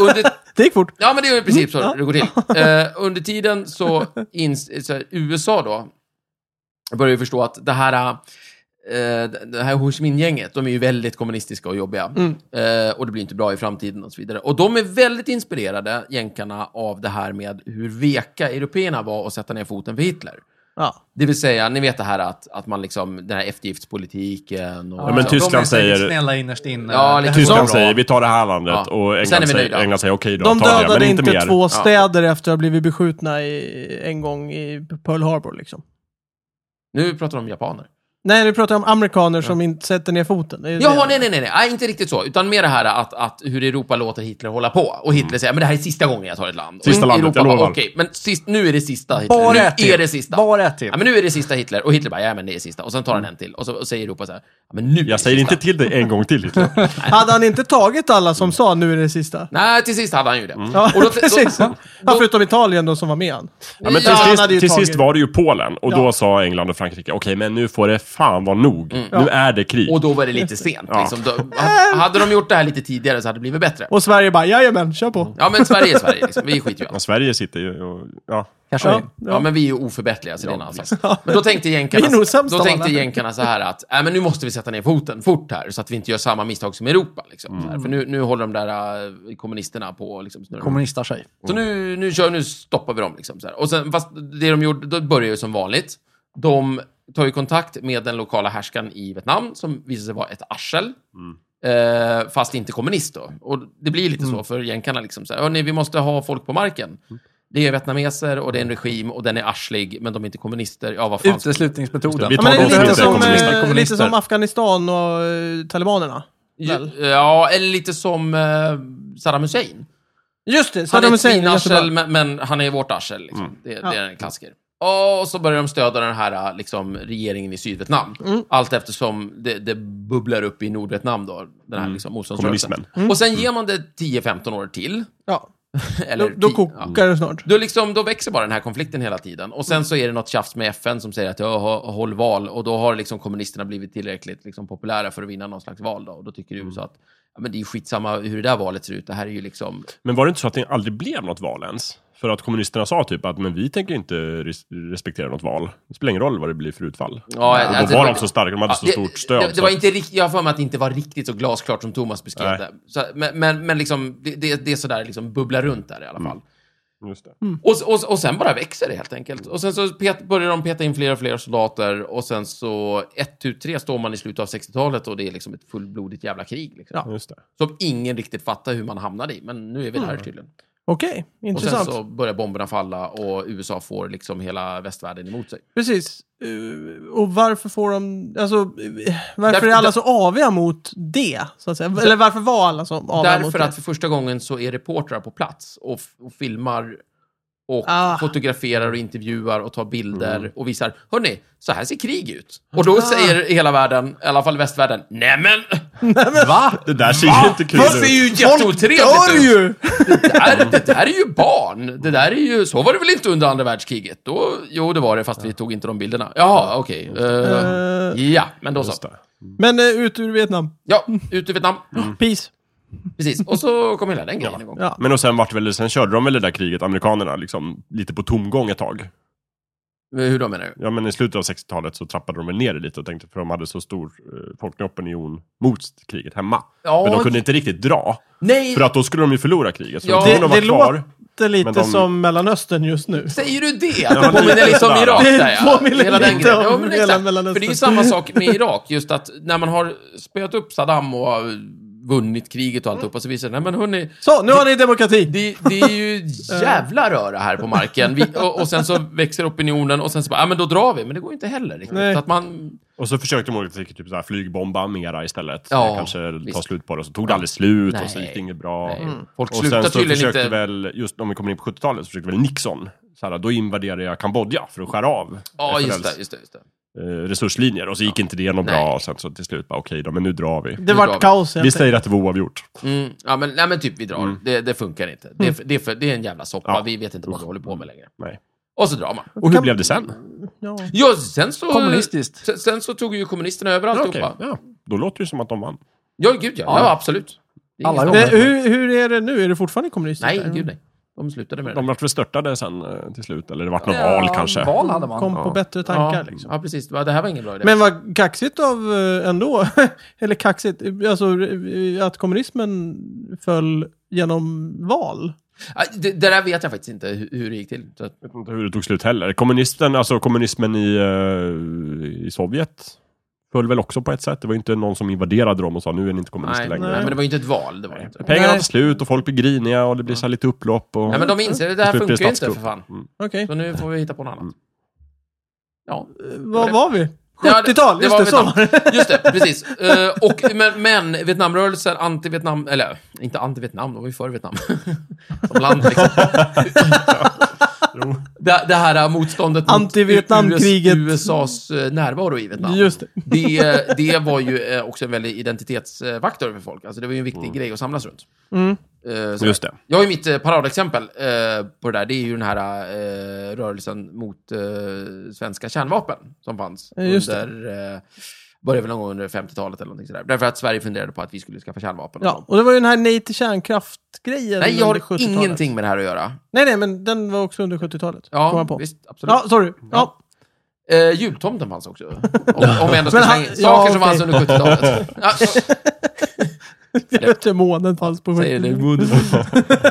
Speaker 2: under,
Speaker 1: Det gick fort.
Speaker 2: Ja, men det är ju i princip så det går till. Eh, under tiden så, ins- så här, USA då börjar ju förstå att det här, eh, det här Ho Chi Minh-gänget, de är ju väldigt kommunistiska och jobbiga. Eh, och det blir inte bra i framtiden och så vidare. Och de är väldigt inspirerade, jänkarna, av det här med hur veka européerna var att sätta ner foten för Hitler.
Speaker 1: Ja.
Speaker 2: Det vill säga, ni vet det här att, att man liksom, den här eftergiftspolitiken och... liksom,
Speaker 4: Ja, men
Speaker 3: Så
Speaker 4: Tyskland
Speaker 3: de är säkert
Speaker 4: säger-
Speaker 3: Snälla innerst inne.
Speaker 2: Ja,
Speaker 3: Det
Speaker 2: lite
Speaker 3: här
Speaker 4: Tyskland
Speaker 3: var bra.
Speaker 4: säger vi tar det här landet
Speaker 2: Ja.
Speaker 4: och
Speaker 2: Sen är
Speaker 4: England
Speaker 2: vi
Speaker 4: säger,
Speaker 2: nöjda.
Speaker 4: England säger okej
Speaker 1: De
Speaker 4: då, ta det,
Speaker 1: dödade
Speaker 4: men
Speaker 1: inte,
Speaker 4: inte mer.
Speaker 1: två städer efter att ha blivit beskjutna i, en gång i Pearl Harbor. Liksom.
Speaker 2: Nu pratar de om japaner.
Speaker 1: Nej, nu pratar jag om amerikaner som inte sätter ner foten. Det är
Speaker 2: Jaha,
Speaker 1: det.
Speaker 2: nej, nej, nej, nej, Nej, inte riktigt så. Utan mer det här att, att hur Europa låter Hitler hålla på. Och Hitler säger, men det här är sista gången jag tar ett land.
Speaker 4: Sista
Speaker 2: och
Speaker 4: landet,
Speaker 2: Europa
Speaker 4: jag
Speaker 2: bara,
Speaker 4: lovar.
Speaker 2: Okej, men sist, nu är det sista Hitler.
Speaker 3: Bara ett
Speaker 2: nu är
Speaker 3: till.
Speaker 2: det sista.
Speaker 3: Bara ett till.
Speaker 2: Ja, men nu är det sista Hitler. Och Hitler bara, ja men det är sista. Och sen tar han en till. Och så och säger Europa så här, ja, men nu är det
Speaker 4: Jag säger
Speaker 2: sista.
Speaker 4: inte till dig en gång till liksom. Hitler.
Speaker 1: Hade han inte tagit alla som sa nu är det sista?
Speaker 2: Nej, till sist hade han ju det.
Speaker 1: Ja,
Speaker 2: Och då-
Speaker 1: precis.
Speaker 2: då-
Speaker 1: ja, förutom Italien då som var med han.
Speaker 4: Ja, men till,
Speaker 2: Ja, han
Speaker 1: hade ju
Speaker 4: sist, till
Speaker 1: tagit-
Speaker 4: sist var det ju Polen och
Speaker 1: Ja.
Speaker 4: då sa England och Frankrike, okej men nu får det fan vara nog. Nu är det krig.
Speaker 2: Och då var det lite sent. Liksom. Då, ha- hade de gjort det här lite tidigare så hade det blivit bättre.
Speaker 1: Och Sverige bara, jajamän, kör på.
Speaker 2: Ja, men Sverige är Sverige. Liksom. Vi skiter ju i
Speaker 4: Ja,
Speaker 2: allt.
Speaker 4: Sverige sitter ju och, ja.
Speaker 3: Kanske
Speaker 1: Ja,
Speaker 3: in.
Speaker 2: Ja,
Speaker 1: ja.
Speaker 2: men vi är ju oförbätterliga, så det är en annan sak. Men då tänkte
Speaker 1: Vi är nog
Speaker 2: jänkarna,
Speaker 1: sämst
Speaker 2: då
Speaker 1: av
Speaker 2: tänkte
Speaker 1: alla.
Speaker 2: jänkarna så här att, nej men nu måste vi sätta ner foten fort här, så att vi inte gör samma misstag som Europa. Liksom. Så
Speaker 1: Mm.
Speaker 2: här, för nu, nu håller de där äh, kommunisterna på och liksom, snurra.
Speaker 3: Kommunistar sig.
Speaker 2: Så nu, nu, kör, nu stoppar vi dem. Liksom, så här. Och sen, fast det de gjorde, då börjar ju som vanligt. De tar ju kontakt med den lokala härskaren i Vietnam, som visar sig vara ett arsel. Eh, fast inte kommunist då. Och det blir lite så för jänkarna. Liksom, så här, Hörrni, vi måste ha folk på marken. Det är vietnameser och det är en regim och den är arslig, men de är inte kommunister. Ja, vad fan. ska-
Speaker 3: Uteslutningsmetoden.
Speaker 4: Vi
Speaker 1: Ja,
Speaker 4: tar
Speaker 1: men det
Speaker 4: de
Speaker 1: är
Speaker 4: som
Speaker 1: lite
Speaker 4: inte är
Speaker 1: som,
Speaker 4: kommunister.
Speaker 1: eh, lite
Speaker 3: Kommunister.
Speaker 1: som Afghanistan och eh, talibanerna. väl?
Speaker 2: Ja, eller lite som eh, Saddam Hussein.
Speaker 1: Just det,
Speaker 2: Han
Speaker 1: Saddam
Speaker 2: är ett
Speaker 1: Hussein.
Speaker 2: svinarsel,
Speaker 1: jättebra.
Speaker 2: men, men han är vårt arsel. Liksom. Det,
Speaker 1: Mm. Ja.
Speaker 2: det är en klassiker. Och så börjar de stödja den här liksom, regeringen i Sydvietnam.
Speaker 1: Mm.
Speaker 2: Allt eftersom det, det bubblar upp
Speaker 1: Mm.
Speaker 2: i Nordvietnam, då, den här liksom, motståndsrörelsen.
Speaker 4: Kommunismen.
Speaker 2: Och sen ger man det 10-15 år till.
Speaker 1: Ja. Mm. Då,
Speaker 2: Eller
Speaker 1: då
Speaker 2: ti- ja.
Speaker 1: kokar det snart.
Speaker 2: Då, liksom, då växer bara den här konflikten hela tiden. Och
Speaker 1: Mm.
Speaker 2: sen så är det något tjafs med FN som säger att jag håll val. Och då har liksom kommunisterna blivit tillräckligt liksom, populära för att vinna någon slags val. Då. Och då tycker
Speaker 1: Mm.
Speaker 2: USA att ja, men det är ju skitsamma hur det där valet ser ut. Det här är ju liksom...
Speaker 4: Men var det inte så att det aldrig blev något val ens? För att kommunisterna sa typ att men vi tänker inte res- respektera något val. Det spelar ingen roll vad det blir för utfall.
Speaker 2: Ja,
Speaker 4: och då
Speaker 2: alltså, det
Speaker 4: var
Speaker 2: var-
Speaker 4: de så starka, de hade så
Speaker 2: Ja,
Speaker 4: stort stöd.
Speaker 2: Det, det
Speaker 4: så
Speaker 2: var
Speaker 4: att-
Speaker 2: inte rikt, jag har för mig att det inte var riktigt så glasklart som Thomas beskrev
Speaker 4: Nej.
Speaker 2: det. Så, men, men, men liksom, det, det, det är sådär liksom bubblar runt där i alla fall.
Speaker 4: Just det.
Speaker 2: Och, och, och sen bara växer det helt enkelt. Och sen så pet, börjar de peta in fler och fler soldater och sen så ett tu tre står man i slutet av 60-talet och det är liksom ett fullblodigt jävla krig. Liksom.
Speaker 4: Just det.
Speaker 2: Som ingen riktigt fattar hur man hamnade i, men nu är vi
Speaker 4: Mm.
Speaker 2: där tydligen.
Speaker 1: Okej,
Speaker 2: Och sen
Speaker 1: intressant.
Speaker 2: så börjar bomberna falla och USA får liksom hela västvärlden emot sig.
Speaker 1: Precis. Eh, Och varför får de... Alltså, eh, varför
Speaker 2: Därför-
Speaker 1: är alla
Speaker 2: där-
Speaker 1: så aviga mot det? Så att säga? Eller varför var alla så aviga mot
Speaker 2: Därför
Speaker 1: det?
Speaker 2: att för första gången så är reportrar på plats och, f- och filmar och
Speaker 1: Ah.
Speaker 2: fotograferar och intervjuar och tar bilder
Speaker 4: Mm.
Speaker 2: och visar. Hörni, så här ser krig ut.
Speaker 1: Ah.
Speaker 2: Och då säger hela världen, i alla fall västvärlden, nämen!
Speaker 3: Va?
Speaker 4: Det där ser
Speaker 2: Ah,
Speaker 4: ju inte kul
Speaker 2: Det ser
Speaker 4: ut.
Speaker 2: ju
Speaker 1: Folk dör
Speaker 2: jätteotrevligt ut!
Speaker 1: ju!
Speaker 2: Det där, det där är ju barn! Det där är ju, så var det väl inte under andra världskriget? Då, jo, det var det, fast vi tog inte de bilderna. Jaha, okej. Eh, ja, men då
Speaker 4: Just
Speaker 2: så.
Speaker 4: det.
Speaker 1: Men eh, ut ur Vietnam.
Speaker 2: Ja, ut ur Vietnam.
Speaker 1: Peace.
Speaker 2: Precis. Och så kom hela den grejen igång.
Speaker 1: Ja.
Speaker 4: Men och sen, vart det väl, sen körde de väl det där kriget, amerikanerna, liksom, lite på tomgång ett tag.
Speaker 2: Hur då menar du?
Speaker 4: Ja, men i slutet av 60-talet så trappade de väl ner det lite och tänkte, för de hade så stor eh, folklig opinion mot kriget hemma.
Speaker 2: Ja,
Speaker 4: Men de kunde inte riktigt dra,
Speaker 2: Nej,
Speaker 4: för att då skulle de ju förlora kriget. Så
Speaker 2: Ja.
Speaker 4: ja,
Speaker 1: Det,
Speaker 4: de var
Speaker 1: det
Speaker 4: kvar.
Speaker 1: låter lite
Speaker 4: men de-
Speaker 1: som Mellanöstern just nu.
Speaker 2: Säger du det?
Speaker 4: men det-
Speaker 2: påminner lite om Irak
Speaker 1: Det
Speaker 2: där ja.
Speaker 1: påminner lite
Speaker 2: grejen.
Speaker 1: om
Speaker 2: Ja, men
Speaker 1: hela
Speaker 2: exakt.
Speaker 1: Mellanöstern.
Speaker 2: För det är ju samma sak med Irak, just att när man har spöat upp Saddam och har vunnit kriget och alltihopa så visar det, nej men hörni,
Speaker 1: Så, nu har ni demokrati!
Speaker 2: det, det är ju jävla röra här på marken. Vi, och, och sen så växer opinionen och sen så bara, ja men då drar vi, men det går ju inte heller riktigt.
Speaker 1: Nej.
Speaker 2: Så att man,
Speaker 4: Och så försökte de olika typ så här, flygbomba mera istället.
Speaker 2: Ja,
Speaker 4: kanske ta
Speaker 2: visst.
Speaker 4: slut på det. Så tog det aldrig slut och så
Speaker 2: Nej.
Speaker 4: gick det inget bra.
Speaker 2: nej,
Speaker 1: Mm.
Speaker 2: folk
Speaker 4: Mm. Och sen
Speaker 2: slutar
Speaker 4: så
Speaker 2: tydligen
Speaker 4: försökte
Speaker 2: inte...
Speaker 4: väl, just om vi kommer in på 70-talet, så försökte väl Nixon, så här, då invaderade jag Kambodja för att skära av
Speaker 2: Ja,
Speaker 4: FNLs
Speaker 2: just det, just det, just det.
Speaker 4: eh, resurslinjer. Och så gick inte det något
Speaker 2: Nej.
Speaker 4: bra. Och sen så till slut bara, okej då, men nu drar vi.
Speaker 1: Det
Speaker 2: drar
Speaker 1: vart
Speaker 2: vi.
Speaker 1: kaos helt
Speaker 4: Vi
Speaker 1: enkelt.
Speaker 4: säger att det var oavgjort.
Speaker 2: Mm, ja, men, nej, men typ vi drar. Det, det funkar inte. Det, är för- det, är för, det är en jävla soppa.
Speaker 4: Mm. Ja.
Speaker 2: Vi vet inte vad vi håller på med längre.
Speaker 4: Nej.
Speaker 2: Och så drar man.
Speaker 4: Och hur
Speaker 1: Kan-
Speaker 4: blev det sen?
Speaker 1: Ja.
Speaker 2: Ja, sen så...
Speaker 3: Kommunistiskt.
Speaker 2: Sen, sen så tog ju kommunisterna över
Speaker 4: Ja,
Speaker 2: alltihopa.
Speaker 4: okej. ja. Då låter det som att de vann.
Speaker 2: Ja, gud ja. Ja, absolut. Det är
Speaker 3: Alla
Speaker 2: ingen
Speaker 3: gånger.
Speaker 2: snack.
Speaker 1: Det, Eh, hur, hur är det nu? Är det fortfarande kommunistiskt?
Speaker 2: Nej,
Speaker 1: där?
Speaker 2: gud nej. De slutade med det.
Speaker 4: De vart väl störtade sen eh, till slut, eller det vart något
Speaker 3: Ja,
Speaker 4: val kanske.
Speaker 3: Val hade man.
Speaker 1: Kom på
Speaker 4: Ja.
Speaker 1: bättre
Speaker 2: ja,
Speaker 1: tankar liksom.
Speaker 2: ja, precis. Va, Det här var ingen bra idé.
Speaker 1: Men vad kaxigt av eh, ändå, eller kaxigt, alltså eh, att kommunismen föll genom val.
Speaker 2: Ja, Det, det där vet jag faktiskt inte hur, hur det gick till. Så att,
Speaker 4: Jag vet inte hur det tog slut heller. Kommunisten, alltså kommunismen i, eh, i Sovjet föll väl också på ett sätt. Det var ju inte någon som invaderade dem och sa nu är ni inte kommunister
Speaker 2: nej, nej,
Speaker 4: längre.
Speaker 2: men det var ju inte ett val. Det var det inte.
Speaker 4: Pengarna
Speaker 1: Nej.
Speaker 4: tar slut och folk blir griniga och det blir så här lite upplopp. Och...
Speaker 2: Nej, men de inser att det här
Speaker 4: Till slut blir
Speaker 2: funkar ju inte, för
Speaker 4: statskupp.
Speaker 2: fan.
Speaker 4: Mm.
Speaker 1: Okej,
Speaker 2: Så nu får vi hitta på något annat. Ja.
Speaker 1: Eh,
Speaker 2: det-
Speaker 1: vad var vi?
Speaker 2: Ja, det-
Speaker 1: 70-tal,
Speaker 2: det
Speaker 1: just
Speaker 2: var
Speaker 1: det, så
Speaker 2: Vietnam.
Speaker 1: var det.
Speaker 2: Just det, precis. Eh, och, men, men Vietnamrörelsen, anti-Vietnam, eller inte anti-Vietnam, de var ju för Vietnam. Som land liksom. det, det här motståndet
Speaker 1: Anti-Vietnamkriget.
Speaker 2: mot USAs eh, närvaro i Vietnam.
Speaker 1: Just det.
Speaker 2: Det, det var ju eh, också en väldig identitetsfaktor för folk. Alltså det var ju en viktig grej att samlas runt.
Speaker 1: Mm.
Speaker 2: Eh, så-
Speaker 4: Just det.
Speaker 2: jag har ju mitt eh, paradexempel eh, på det där. Det är ju den här eh, rörelsen mot eh, svenska kärnvapen som fanns
Speaker 1: Ja, just det.
Speaker 2: under... Eh, började väl någon gång under 50-talet eller någonting sådär. Därför att Sverige funderade på att vi skulle skaffa kärnvapen.
Speaker 1: Ja, och det var ju den här nej till kärnkraft-grejen.
Speaker 2: Nej, jag
Speaker 1: under
Speaker 2: har
Speaker 1: 70-talet.
Speaker 2: ingenting med det här att göra.
Speaker 1: Nej, nej, men den var också under 70-talet. kom
Speaker 2: Ja,
Speaker 1: jag på.
Speaker 2: visst. Absolut.
Speaker 1: Ja, sorry. Ja.
Speaker 2: Eh, jultomten fanns också. Om, om vi ändå ska
Speaker 1: Men han-
Speaker 2: slänga in saker
Speaker 1: ja,
Speaker 2: som
Speaker 1: okej.
Speaker 2: fanns under 70-talet. Ja, och-
Speaker 1: Jag vet inte, månen fanns på
Speaker 2: säger det.
Speaker 1: 70-talet.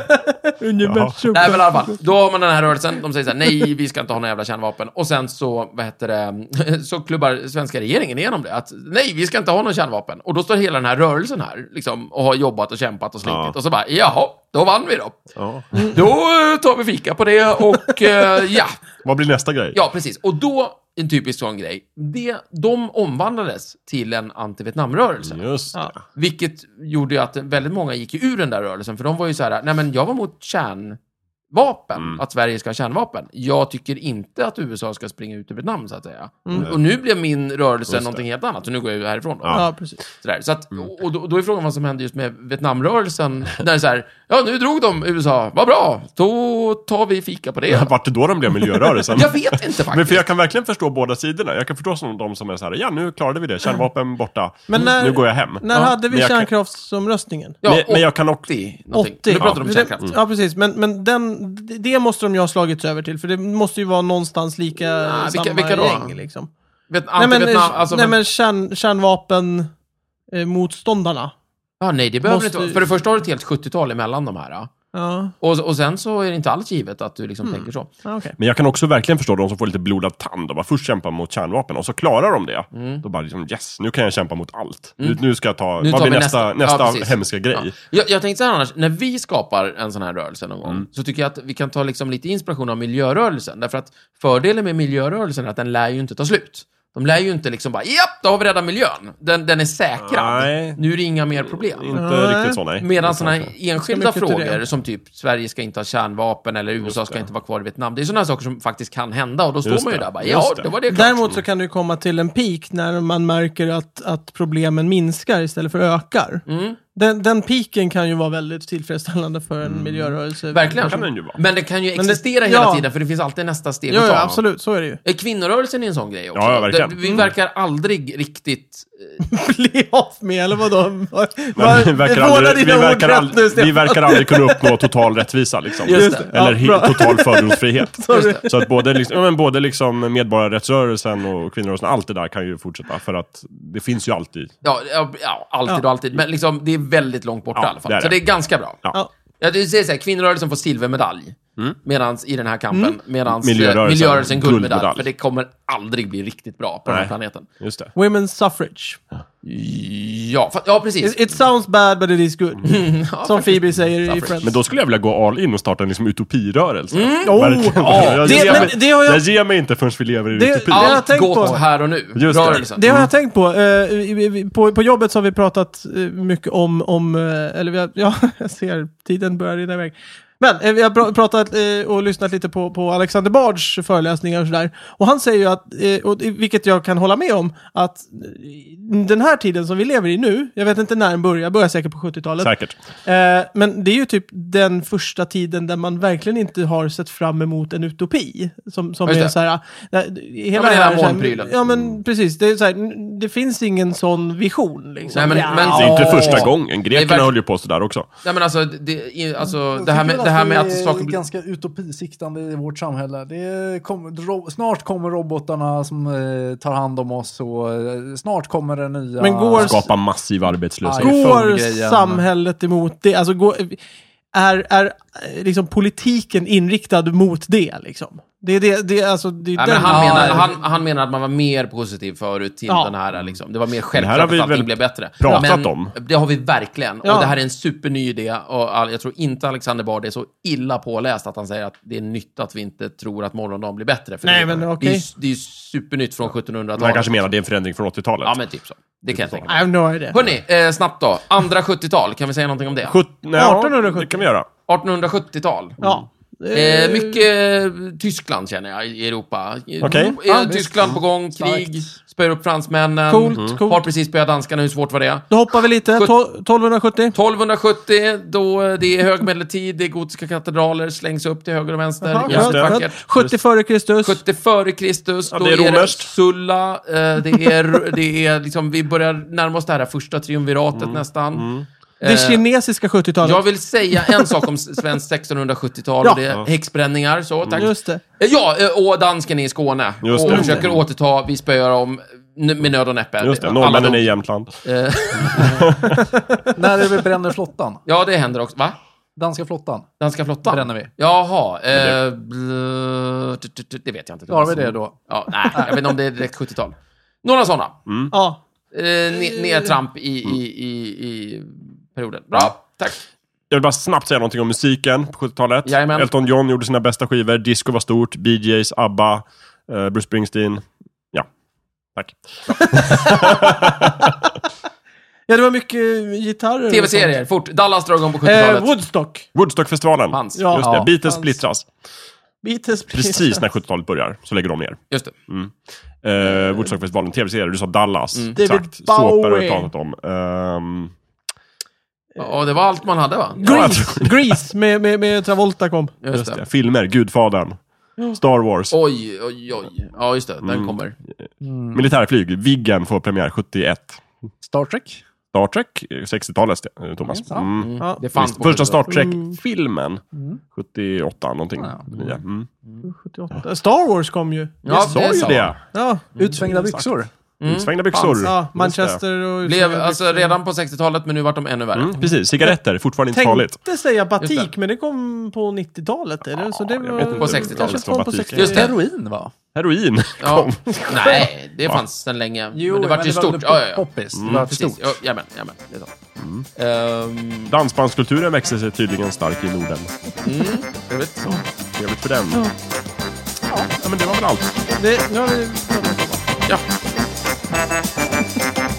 Speaker 1: Universum.
Speaker 2: Nej, men i alla fall. Då har man den här rörelsen. De säger så här, nej, vi ska inte ha några jävla kärnvapen. Och sen så, vad heter det, så klubbar svenska regeringen igenom det. Att nej, vi ska inte ha någon kärnvapen. Och då står hela den här rörelsen här, liksom, och har jobbat och kämpat och slitit.
Speaker 4: Ja.
Speaker 2: Och så bara, jaha, då vann vi då.
Speaker 4: Ja.
Speaker 2: Då eh, tar vi fika på det och eh, ja,
Speaker 4: Vad blir nästa grej?
Speaker 2: ja, precis. Och då, en typisk sån grej, det, de omvandlades till en anti-Vietnamrörelse.
Speaker 4: Just det.
Speaker 1: Ja.
Speaker 2: Vilket gjorde ju att väldigt många gick ur den där rörelsen, för de var ju så här, nej men jag var mot kärnvapen vapen,
Speaker 4: Mm.
Speaker 2: att Sverige ska ha kärnvapen. Jag tycker inte att USA ska springa ut ur Vietnam, så att säga.
Speaker 1: Mm.
Speaker 2: Och nu blev min rörelse
Speaker 4: Just det.
Speaker 2: någonting helt annat, så nu går jag ju härifrån. Då.
Speaker 4: Ja. Mm.
Speaker 1: Ja, precis.
Speaker 2: Sådär. Så att, och då, då är frågan vad som hände just med Vietnamrörelsen, där det är så här, ja nu drog de USA, vad bra, då tar vi fika på det.
Speaker 4: Vart det då de blev miljörörelsen?
Speaker 2: Jag vet inte faktiskt.
Speaker 4: Men för jag kan verkligen förstå båda sidorna. Jag kan förstå som de som är så här, ja nu klarade vi det, kärnvapen borta,
Speaker 1: Men när-
Speaker 4: nu går jag hem.
Speaker 1: När
Speaker 2: Ja,
Speaker 1: hade vi
Speaker 4: men jag kan-
Speaker 1: kärnkraftsomröstningen?
Speaker 2: eh, Ja,
Speaker 4: men, men jag Mm. kan också...
Speaker 2: 80, någonting.
Speaker 1: 80.
Speaker 2: Nu pratar de om kärnkraft.
Speaker 1: Ja, precis. Men, men den, det måste de ju ha slagits över till, för det måste ju vara någonstans lika
Speaker 2: Nej, vilka-
Speaker 1: samma
Speaker 2: vilka då?
Speaker 1: gäng. Liksom.
Speaker 2: Vet,
Speaker 1: Nej, men,
Speaker 2: anti-Vietnam, alltså,
Speaker 1: nej,
Speaker 2: men,
Speaker 1: men kärn, kärnvapen... Eh, motståndarna.
Speaker 2: ja, nej, det behöver
Speaker 1: måste-
Speaker 2: inte vara. För det första har du ett helt 70-tal emellan de här. ja.
Speaker 1: Ja,
Speaker 2: Och, och sen så är det inte alls givet att du
Speaker 4: Mm.
Speaker 2: liksom tänker så.
Speaker 1: ah, okej.
Speaker 4: Men jag kan också verkligen förstå de som får lite blodad tand. De bara först kämpar mot kärnvapen och så klarar de det. Då bara liksom yes, nu kan jag kämpa mot allt. Nu, nu ska jag ta,
Speaker 2: Nu
Speaker 4: vad
Speaker 2: tar
Speaker 4: blir
Speaker 2: vi
Speaker 4: nästa,
Speaker 2: nästa.
Speaker 4: nästa,
Speaker 2: Ja, precis.
Speaker 4: hemska grej?
Speaker 2: Ja. Jag, jag tänkte så här annars, när vi skapar en sån här rörelse någon gång,
Speaker 4: Mm.
Speaker 2: så tycker jag att vi kan ta liksom lite inspiration av miljörörelsen. Därför att fördelen med miljörörelsen är att den lär ju inte ta slut. De lär ju inte liksom bara, japp, då har vi räddat miljön. Den, den är säkrad.
Speaker 4: Nej.
Speaker 2: Nu är det inga mer problem.
Speaker 4: Inte
Speaker 1: Nej.
Speaker 4: riktigt så nej.
Speaker 2: Medan sådana här enskilda
Speaker 1: mycket till det.
Speaker 2: frågor som typ Sverige ska inte ha kärnvapen eller USA ska inte vara kvar i Vietnam. Det är sådana saker som faktiskt kan hända och då står
Speaker 4: Just
Speaker 2: man ju
Speaker 4: det.
Speaker 2: där bara,
Speaker 4: Just
Speaker 2: ja,
Speaker 4: det.
Speaker 2: då var det klart. Mm.
Speaker 1: Däremot så kan det ju komma till en peak när man märker att, att problemen minskar istället för ökar.
Speaker 2: Mm.
Speaker 1: Den, den peaken kan ju vara väldigt tillfredsställande för en miljörörelse.
Speaker 2: Verkligen.
Speaker 4: kan den ju vara.
Speaker 2: Men det kan ju
Speaker 1: Men det-
Speaker 2: existera hela
Speaker 1: ja.
Speaker 2: tiden, för det finns alltid nästa steg
Speaker 1: Ja,
Speaker 2: att ta.
Speaker 1: ja, absolut. Mm. Så är det ju.
Speaker 2: Eh, Kvinnorörelsen är en sån grej också.
Speaker 4: Ja, ja, verkligen.
Speaker 2: Där- Vi verkar aldrig riktigt... eh,
Speaker 1: Bli av med, eller vadå?
Speaker 4: Men
Speaker 1: Vad-
Speaker 4: vi, verkar
Speaker 1: vårda
Speaker 4: aldrig, vi,
Speaker 1: dina ord
Speaker 4: verkar
Speaker 1: rätt
Speaker 4: aldrig, vi
Speaker 1: Stefan.
Speaker 4: verkar aldrig kunna uppnå total rättvisa. Liksom.
Speaker 2: Just det.
Speaker 4: Eller
Speaker 1: Ja,
Speaker 4: he-
Speaker 1: bra.
Speaker 4: total fördomsfrihet.
Speaker 1: Sorry.
Speaker 2: Just det.
Speaker 4: Så att både, liksom, ja, men både liksom medborgarrättsrörelsen och kvinnorörelsen, allt det där kan ju fortsätta. För att det finns ju alltid.
Speaker 2: Ja, ja, ja alltid
Speaker 1: Ja.
Speaker 2: och alltid. Men liksom, det är väldigt långt bort
Speaker 4: Ja,
Speaker 2: i alla fall.
Speaker 4: det är
Speaker 2: Så
Speaker 4: det.
Speaker 2: det är ganska bra.
Speaker 4: Ja. Mm.
Speaker 1: Ja.
Speaker 2: Jag säger så här, kvinnorörelsen får silvermedalj. Medans, I den här kampen.
Speaker 1: Mm.
Speaker 2: Medans eh,
Speaker 4: Miljörörelsen,
Speaker 2: miljörörelsen guldmedalj.
Speaker 4: guldmedalj.
Speaker 2: För det kommer aldrig bli riktigt bra på den här
Speaker 4: Nej.
Speaker 2: planeten.
Speaker 4: Just det.
Speaker 1: Women's suffrage.
Speaker 2: Ja, fa- ja precis.
Speaker 1: It, it sounds bad but it is good.
Speaker 2: Mm. ja,
Speaker 1: Som Phoebe säger i
Speaker 4: Suffrage.
Speaker 1: Friends.
Speaker 4: Men då skulle jag vilja gå all in och starta en liksom utopirörelse.
Speaker 1: Oh,
Speaker 4: Verkligen.
Speaker 1: ja.
Speaker 4: jag,
Speaker 1: Det-
Speaker 4: ger
Speaker 1: men
Speaker 4: mig,
Speaker 1: det har jag-
Speaker 4: jag ger mig inte förrän vi lever i
Speaker 1: Det-
Speaker 4: utopi.
Speaker 1: det har jag
Speaker 2: Allt
Speaker 1: tänkt
Speaker 2: gott
Speaker 1: på.
Speaker 2: här och nu. liksom.
Speaker 4: Just det. Mm.
Speaker 2: Rörelsen.
Speaker 1: Det har jag tänkt på. Eh, vi- vi- på. På jobbet så har vi pratat eh, mycket om, om eh, eller vi har, ja, jag ser, tiden börjar rinna iväg. Men eh, vi har pra- pratat eh, och lyssnat lite på, på Alexander Bards föreläsningar och sådär. Och han säger ju att, eh, och, det- vilket jag kan hålla med om, att eh, den här tiden som vi lever i nu, jag vet inte när den börjar, börjar säkert på 70-talet.
Speaker 4: Säkert.
Speaker 1: Eh, men det är ju typ den första tiden där man verkligen inte har sett fram emot en utopi. Som, som
Speaker 2: Just
Speaker 1: är
Speaker 2: det.
Speaker 1: så här... eh,
Speaker 2: men
Speaker 1: Hela
Speaker 2: det är
Speaker 1: här,
Speaker 2: den här
Speaker 1: så här-
Speaker 2: molnprylen.
Speaker 1: Ja, men precis. Det, är så här, n- det finns ingen sån vision. Liksom.
Speaker 2: Nej, men-
Speaker 1: Ja.
Speaker 2: men-
Speaker 4: Det är inte
Speaker 2: Ja.
Speaker 4: första gången. Grekerna
Speaker 2: verkligen-
Speaker 4: höll ju på sådär också.
Speaker 2: Nej, men alltså, det, i- alltså,
Speaker 3: Jag
Speaker 2: det, här
Speaker 3: tycker
Speaker 2: med,
Speaker 3: väl
Speaker 2: det här med
Speaker 3: vi
Speaker 2: att
Speaker 3: är
Speaker 2: saker blir...
Speaker 3: ganska utopisiktande i vårt samhälle. Det kom, ro, snart kommer robotarna som eh, tar hand om oss och eh, snart kommer det nya...
Speaker 1: Men går-
Speaker 4: Skapa massiv arbetslöshet.
Speaker 3: Aj.
Speaker 1: Går
Speaker 3: iPhone-grejen.
Speaker 1: samhället emot det? Alltså, går, är är eh, liksom, politiken inriktad mot det? Liksom? Det är det, det, är alltså, det är
Speaker 2: Nej,
Speaker 1: den,
Speaker 2: men han,
Speaker 3: Ja,
Speaker 2: menar,
Speaker 3: det-
Speaker 2: han, han menar att man var mer positiv förut till
Speaker 1: Ja.
Speaker 2: den här, liksom. det var mer
Speaker 4: Det här
Speaker 2: självklart
Speaker 4: har vi
Speaker 2: att allting
Speaker 4: väl
Speaker 2: blev bättre.
Speaker 4: pratat
Speaker 2: men
Speaker 4: om.
Speaker 2: Det har vi verkligen.
Speaker 1: Ja.
Speaker 2: Och det här är en superny idé. Och all- jag tror inte Alexander Bard är så illa påläst att han säger att det är nytt att vi inte tror att morgondagen blir bättre. För
Speaker 1: Nej,
Speaker 2: det,
Speaker 1: men
Speaker 2: det är ju-
Speaker 1: okej.
Speaker 2: det är ju supernytt från 1700-talet.
Speaker 4: Man kanske menar det är en förändring från 80-talet.
Speaker 2: Ja, men typ så. Det kan jag tänka
Speaker 1: I
Speaker 2: mig.
Speaker 1: have no idea.
Speaker 2: Hörni, eh, snabbt då. Andra 70-tal, kan vi säga någonting om det?
Speaker 4: Sjut- nej, ja,
Speaker 1: 1870.
Speaker 4: Det kan vi göra.
Speaker 2: 1870-tal.
Speaker 1: Ja.
Speaker 2: Eh, mycket eh, Tyskland känner jag i Europa. Eh,
Speaker 4: Okej.
Speaker 2: Eh,
Speaker 1: Ja,
Speaker 2: Tyskland på gång,
Speaker 3: Starkt.
Speaker 2: krig, spöar upp fransmännen. Mm.
Speaker 1: Coolt, coolt.
Speaker 2: Har precis spöat danskarna, hur svårt var det?
Speaker 1: Då hoppar vi lite.
Speaker 2: Sjut-
Speaker 1: Tol- 1270.
Speaker 2: 1270, då eh, det är högmedeltid, det är gotiska katedraler, slängs upp till höger och vänster.
Speaker 1: Jaha,
Speaker 2: Jävligt
Speaker 1: skönt,
Speaker 2: vackert.
Speaker 1: skönt. 70 före Kristus.
Speaker 2: 70 före Kristus,
Speaker 4: Ja,
Speaker 2: då
Speaker 4: det är
Speaker 2: är det
Speaker 4: romerskt.
Speaker 2: Sulla, eh, det är, det är liksom, vi börjar närma oss det här första triumviratet nästan.
Speaker 1: Mm.
Speaker 2: Eh,
Speaker 1: Det kinesiska 70-talet.
Speaker 2: Jag vill säga en sak om svenskt 1670-tal och
Speaker 1: Ja. Mm.
Speaker 2: det är häxbränningar. Så, tack.
Speaker 1: Just det.
Speaker 2: Eh, Ja, eh, och dansken är i Skåne.
Speaker 4: Just
Speaker 2: och
Speaker 4: det.
Speaker 2: försöker återta, vi spöar om n- med nöd och näppe.
Speaker 4: Just det,
Speaker 2: Alla
Speaker 4: norrmännen
Speaker 2: de-
Speaker 4: är i Jämtland.
Speaker 2: Eh,
Speaker 3: När är vi bränner flottan?
Speaker 2: Ja, det händer också. Va?
Speaker 3: Danska flottan?
Speaker 2: Danska flottan?
Speaker 3: Bränner vi.
Speaker 2: Jaha. Eh, bl- t- t- t- det vet jag inte.
Speaker 3: Klarar vi det då?
Speaker 2: Ja, nej, jag vet inte om det är direkt 70-tal. Några sådana.
Speaker 4: Mm.
Speaker 1: Ja.
Speaker 2: Eh, ne- Nedtramp i, i, i, i perioden. Bra, tack.
Speaker 4: Jag vill bara snabbt säga någonting om musiken på 70-talet.
Speaker 2: Jajamän.
Speaker 4: Elton John gjorde sina bästa skivor, disco var stort, BG's, ABBA, eh, Bruce Springsteen. Ja, tack.
Speaker 1: Ja, det var mycket eh, gitarrer. och
Speaker 2: Tv-serier,
Speaker 3: Mm.
Speaker 2: fort. Dallas drar igång på
Speaker 1: sånt. Eh,
Speaker 2: 70-talet.
Speaker 1: Woodstock.
Speaker 4: Woodstockfestivalen.
Speaker 2: Hans.
Speaker 1: Ja.
Speaker 4: Just det, Beatles
Speaker 1: hans.
Speaker 4: splittras.
Speaker 1: Beatles
Speaker 4: Precis när 70-talet börjar så lägger de ner.
Speaker 2: Just det.
Speaker 4: Uh, Woodstockfestivalen, tv-serier, du sa Dallas.
Speaker 2: Mm.
Speaker 1: David
Speaker 4: Exakt. Såpor har
Speaker 1: Bowie.
Speaker 4: vi pratat om. Ehm,
Speaker 2: Ja, det var allt man hade, va?
Speaker 4: jag
Speaker 1: Grease, Grease med, med, med Travolta kom.
Speaker 2: Just
Speaker 4: ja,
Speaker 2: det.
Speaker 4: Alltså, filmer, Gudfadern, Star Wars,
Speaker 2: Oj, oj, oj. Ja, just det. Den
Speaker 4: Mm.
Speaker 2: kommer.
Speaker 4: militärflyg, Viggen får premiär 71.
Speaker 3: Star Trek?
Speaker 4: Star Trek, eh, 60-talet, Sten- eh, Thomas.
Speaker 3: Ja,
Speaker 4: Mm.
Speaker 2: Mm.
Speaker 1: Ja.
Speaker 2: Det fanns på
Speaker 4: Första
Speaker 2: 70-talet.
Speaker 4: Star
Speaker 1: Mm.
Speaker 4: Trek-filmen,
Speaker 3: Mm.
Speaker 4: 78 någonting.
Speaker 3: Ja.
Speaker 4: Ja. Mm.
Speaker 1: 78. Star Wars kom ju.
Speaker 2: Ja,
Speaker 4: Sa ju
Speaker 2: sa man.
Speaker 4: det.
Speaker 1: Ja,
Speaker 3: Utsvängda byxor?
Speaker 2: Mm.
Speaker 4: Utsvängda byxor.
Speaker 2: Fanns.
Speaker 1: Mm. ja
Speaker 4: Just
Speaker 1: Manchester och...
Speaker 2: Blev alltså redan på 60-talet, men nu vart de ännu värre.
Speaker 4: det. Mm, precis, cigaretter, fortfarande inte farligt.
Speaker 1: Tänkte säga
Speaker 2: Just
Speaker 1: batik, men det kom på 90-talet eller? Så det
Speaker 4: jag
Speaker 1: var...
Speaker 4: vet inte.
Speaker 2: På 60-talet.
Speaker 1: Kanske kom på
Speaker 4: Batik.
Speaker 1: 60
Speaker 2: Just det.
Speaker 3: Heroin, va?
Speaker 4: Heroin
Speaker 2: Ja.
Speaker 4: kom.
Speaker 2: Nej, det fanns sedan länge. men det vart ju stort. Ja, ja, ja.
Speaker 3: poppis. Det var för
Speaker 2: Precis.
Speaker 3: stort.
Speaker 2: Ja, jajamän, jajamän. Det är sant.
Speaker 4: Mm.
Speaker 2: Ehm,
Speaker 4: Dansbandskulturen växer sig tydligen stark i Norden.
Speaker 2: trevligt.
Speaker 4: Trevligt för den. Ja. ja, men det var väl allt.
Speaker 1: Det, nu har vi...
Speaker 2: Ja.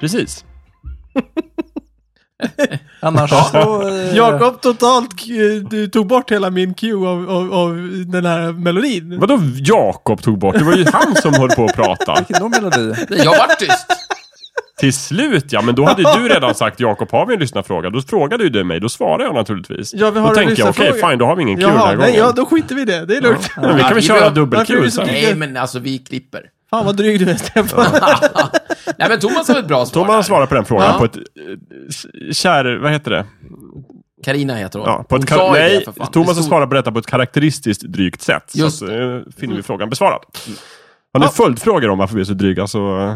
Speaker 4: Precis.
Speaker 3: Annars så... eh,
Speaker 1: Jakob totalt k- du tog bort hela min cue av, av, av den här melodin.
Speaker 4: Vadå Jakob tog bort? Det var ju han som höll på att prata.
Speaker 3: Vilken då melodi?
Speaker 2: Nej, Jag vart tyst.
Speaker 4: Till slut ja, men då hade ju du redan sagt Jakob har vi en lyssnarfråga? Då frågade ju du mig, då svarade jag naturligtvis.
Speaker 1: Ja, vi har
Speaker 4: då
Speaker 1: en
Speaker 4: tänkte jag okej,
Speaker 1: lyssnarfråga.
Speaker 4: fine, då har vi ingen kul den här
Speaker 1: Jaha,
Speaker 4: gången.
Speaker 1: nej, ja, då skiter vi i det. Det är lugnt.
Speaker 4: men vi kan väl
Speaker 2: Vi
Speaker 4: köra
Speaker 2: behöver-
Speaker 1: varför är du
Speaker 4: dubbelkul
Speaker 1: så
Speaker 4: sen.
Speaker 1: dryg?
Speaker 2: Nej, men alltså vi klipper.
Speaker 1: Fan vad dryg du är, Stefan.
Speaker 2: Nej, men Thomas har ett bra svar.
Speaker 4: Thomas
Speaker 2: där.
Speaker 4: svarar på den frågan
Speaker 1: Ja.
Speaker 4: på ett eh, kär... Vad heter det?
Speaker 2: Karina heter hon.
Speaker 4: Ja, på
Speaker 2: hon
Speaker 4: ett
Speaker 2: sa
Speaker 4: kar-
Speaker 2: ju
Speaker 4: nej,
Speaker 2: det, för fan.
Speaker 4: Thomas
Speaker 2: Det
Speaker 4: har
Speaker 2: stod-
Speaker 4: svarat på detta på ett karaktäristiskt drygt sätt.
Speaker 2: Just Mm.
Speaker 4: så att, eh, finner vi frågan besvarad. Har ni följdfrågor om varför vi är så dryga så... eh,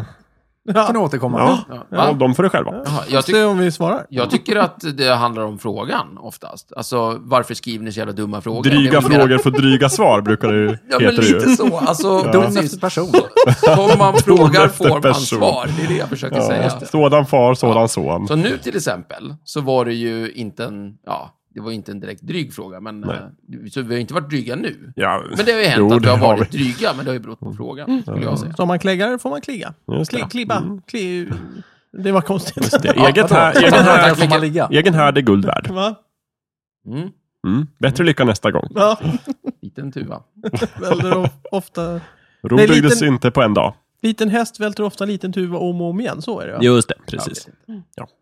Speaker 3: Kan
Speaker 1: Ja,
Speaker 3: du återkomma?
Speaker 4: Ja,
Speaker 2: Ja, va?
Speaker 4: ja. de får det själva.
Speaker 2: Jaha, jag, tyck,
Speaker 1: se om vi svarar.
Speaker 2: jag tycker att det handlar om frågan oftast. Alltså, varför skriver ni så jävla dumma frågor? Det
Speaker 4: Dryga
Speaker 2: är väl mer-
Speaker 4: frågor får dryga svar, brukar det ju
Speaker 2: Ja, men
Speaker 4: heter det
Speaker 2: lite
Speaker 4: ju.
Speaker 2: så. Alltså,
Speaker 3: Dom
Speaker 2: precis.
Speaker 3: efter person.
Speaker 2: Som man frågar
Speaker 4: efter
Speaker 2: får man
Speaker 4: person.
Speaker 2: svar. Det är det jag försöker säga.
Speaker 4: Ja, sådan far, sådan son.
Speaker 2: Så nu till exempel, så var det ju inte en, ja, det var inte en direkt dryg fråga, men eh, så vi har inte varit dryga nu.
Speaker 4: Ja.
Speaker 2: Men det har ju hänt
Speaker 4: Jo,
Speaker 2: att vi
Speaker 4: det
Speaker 2: har
Speaker 4: har Mm.
Speaker 2: varit dryga, men det har ju berott på frågan, skulle jag säga.
Speaker 1: Så om man kläggar får man kligga.
Speaker 4: Just det.
Speaker 1: Kli, klibba. Kli, det var konstigt.
Speaker 4: Det är Eget
Speaker 3: vadå?
Speaker 4: här,
Speaker 3: Sådana
Speaker 4: egen
Speaker 3: här
Speaker 4: här,
Speaker 3: får man ligga.
Speaker 4: egen här är guld värd.
Speaker 1: Va?
Speaker 2: Mm.
Speaker 4: Mm. Bättre lycka nästa gång.
Speaker 1: Ja,
Speaker 2: Liten tuva.
Speaker 1: väldigt of- ofta.
Speaker 4: Rom
Speaker 1: Nej,
Speaker 4: byggdes
Speaker 1: liten-
Speaker 4: inte på en dag.
Speaker 1: Liten häst välter ofta liten tuva om och om igen, så är det ja.
Speaker 4: Just det,
Speaker 2: Jag vet inte.
Speaker 4: Ja.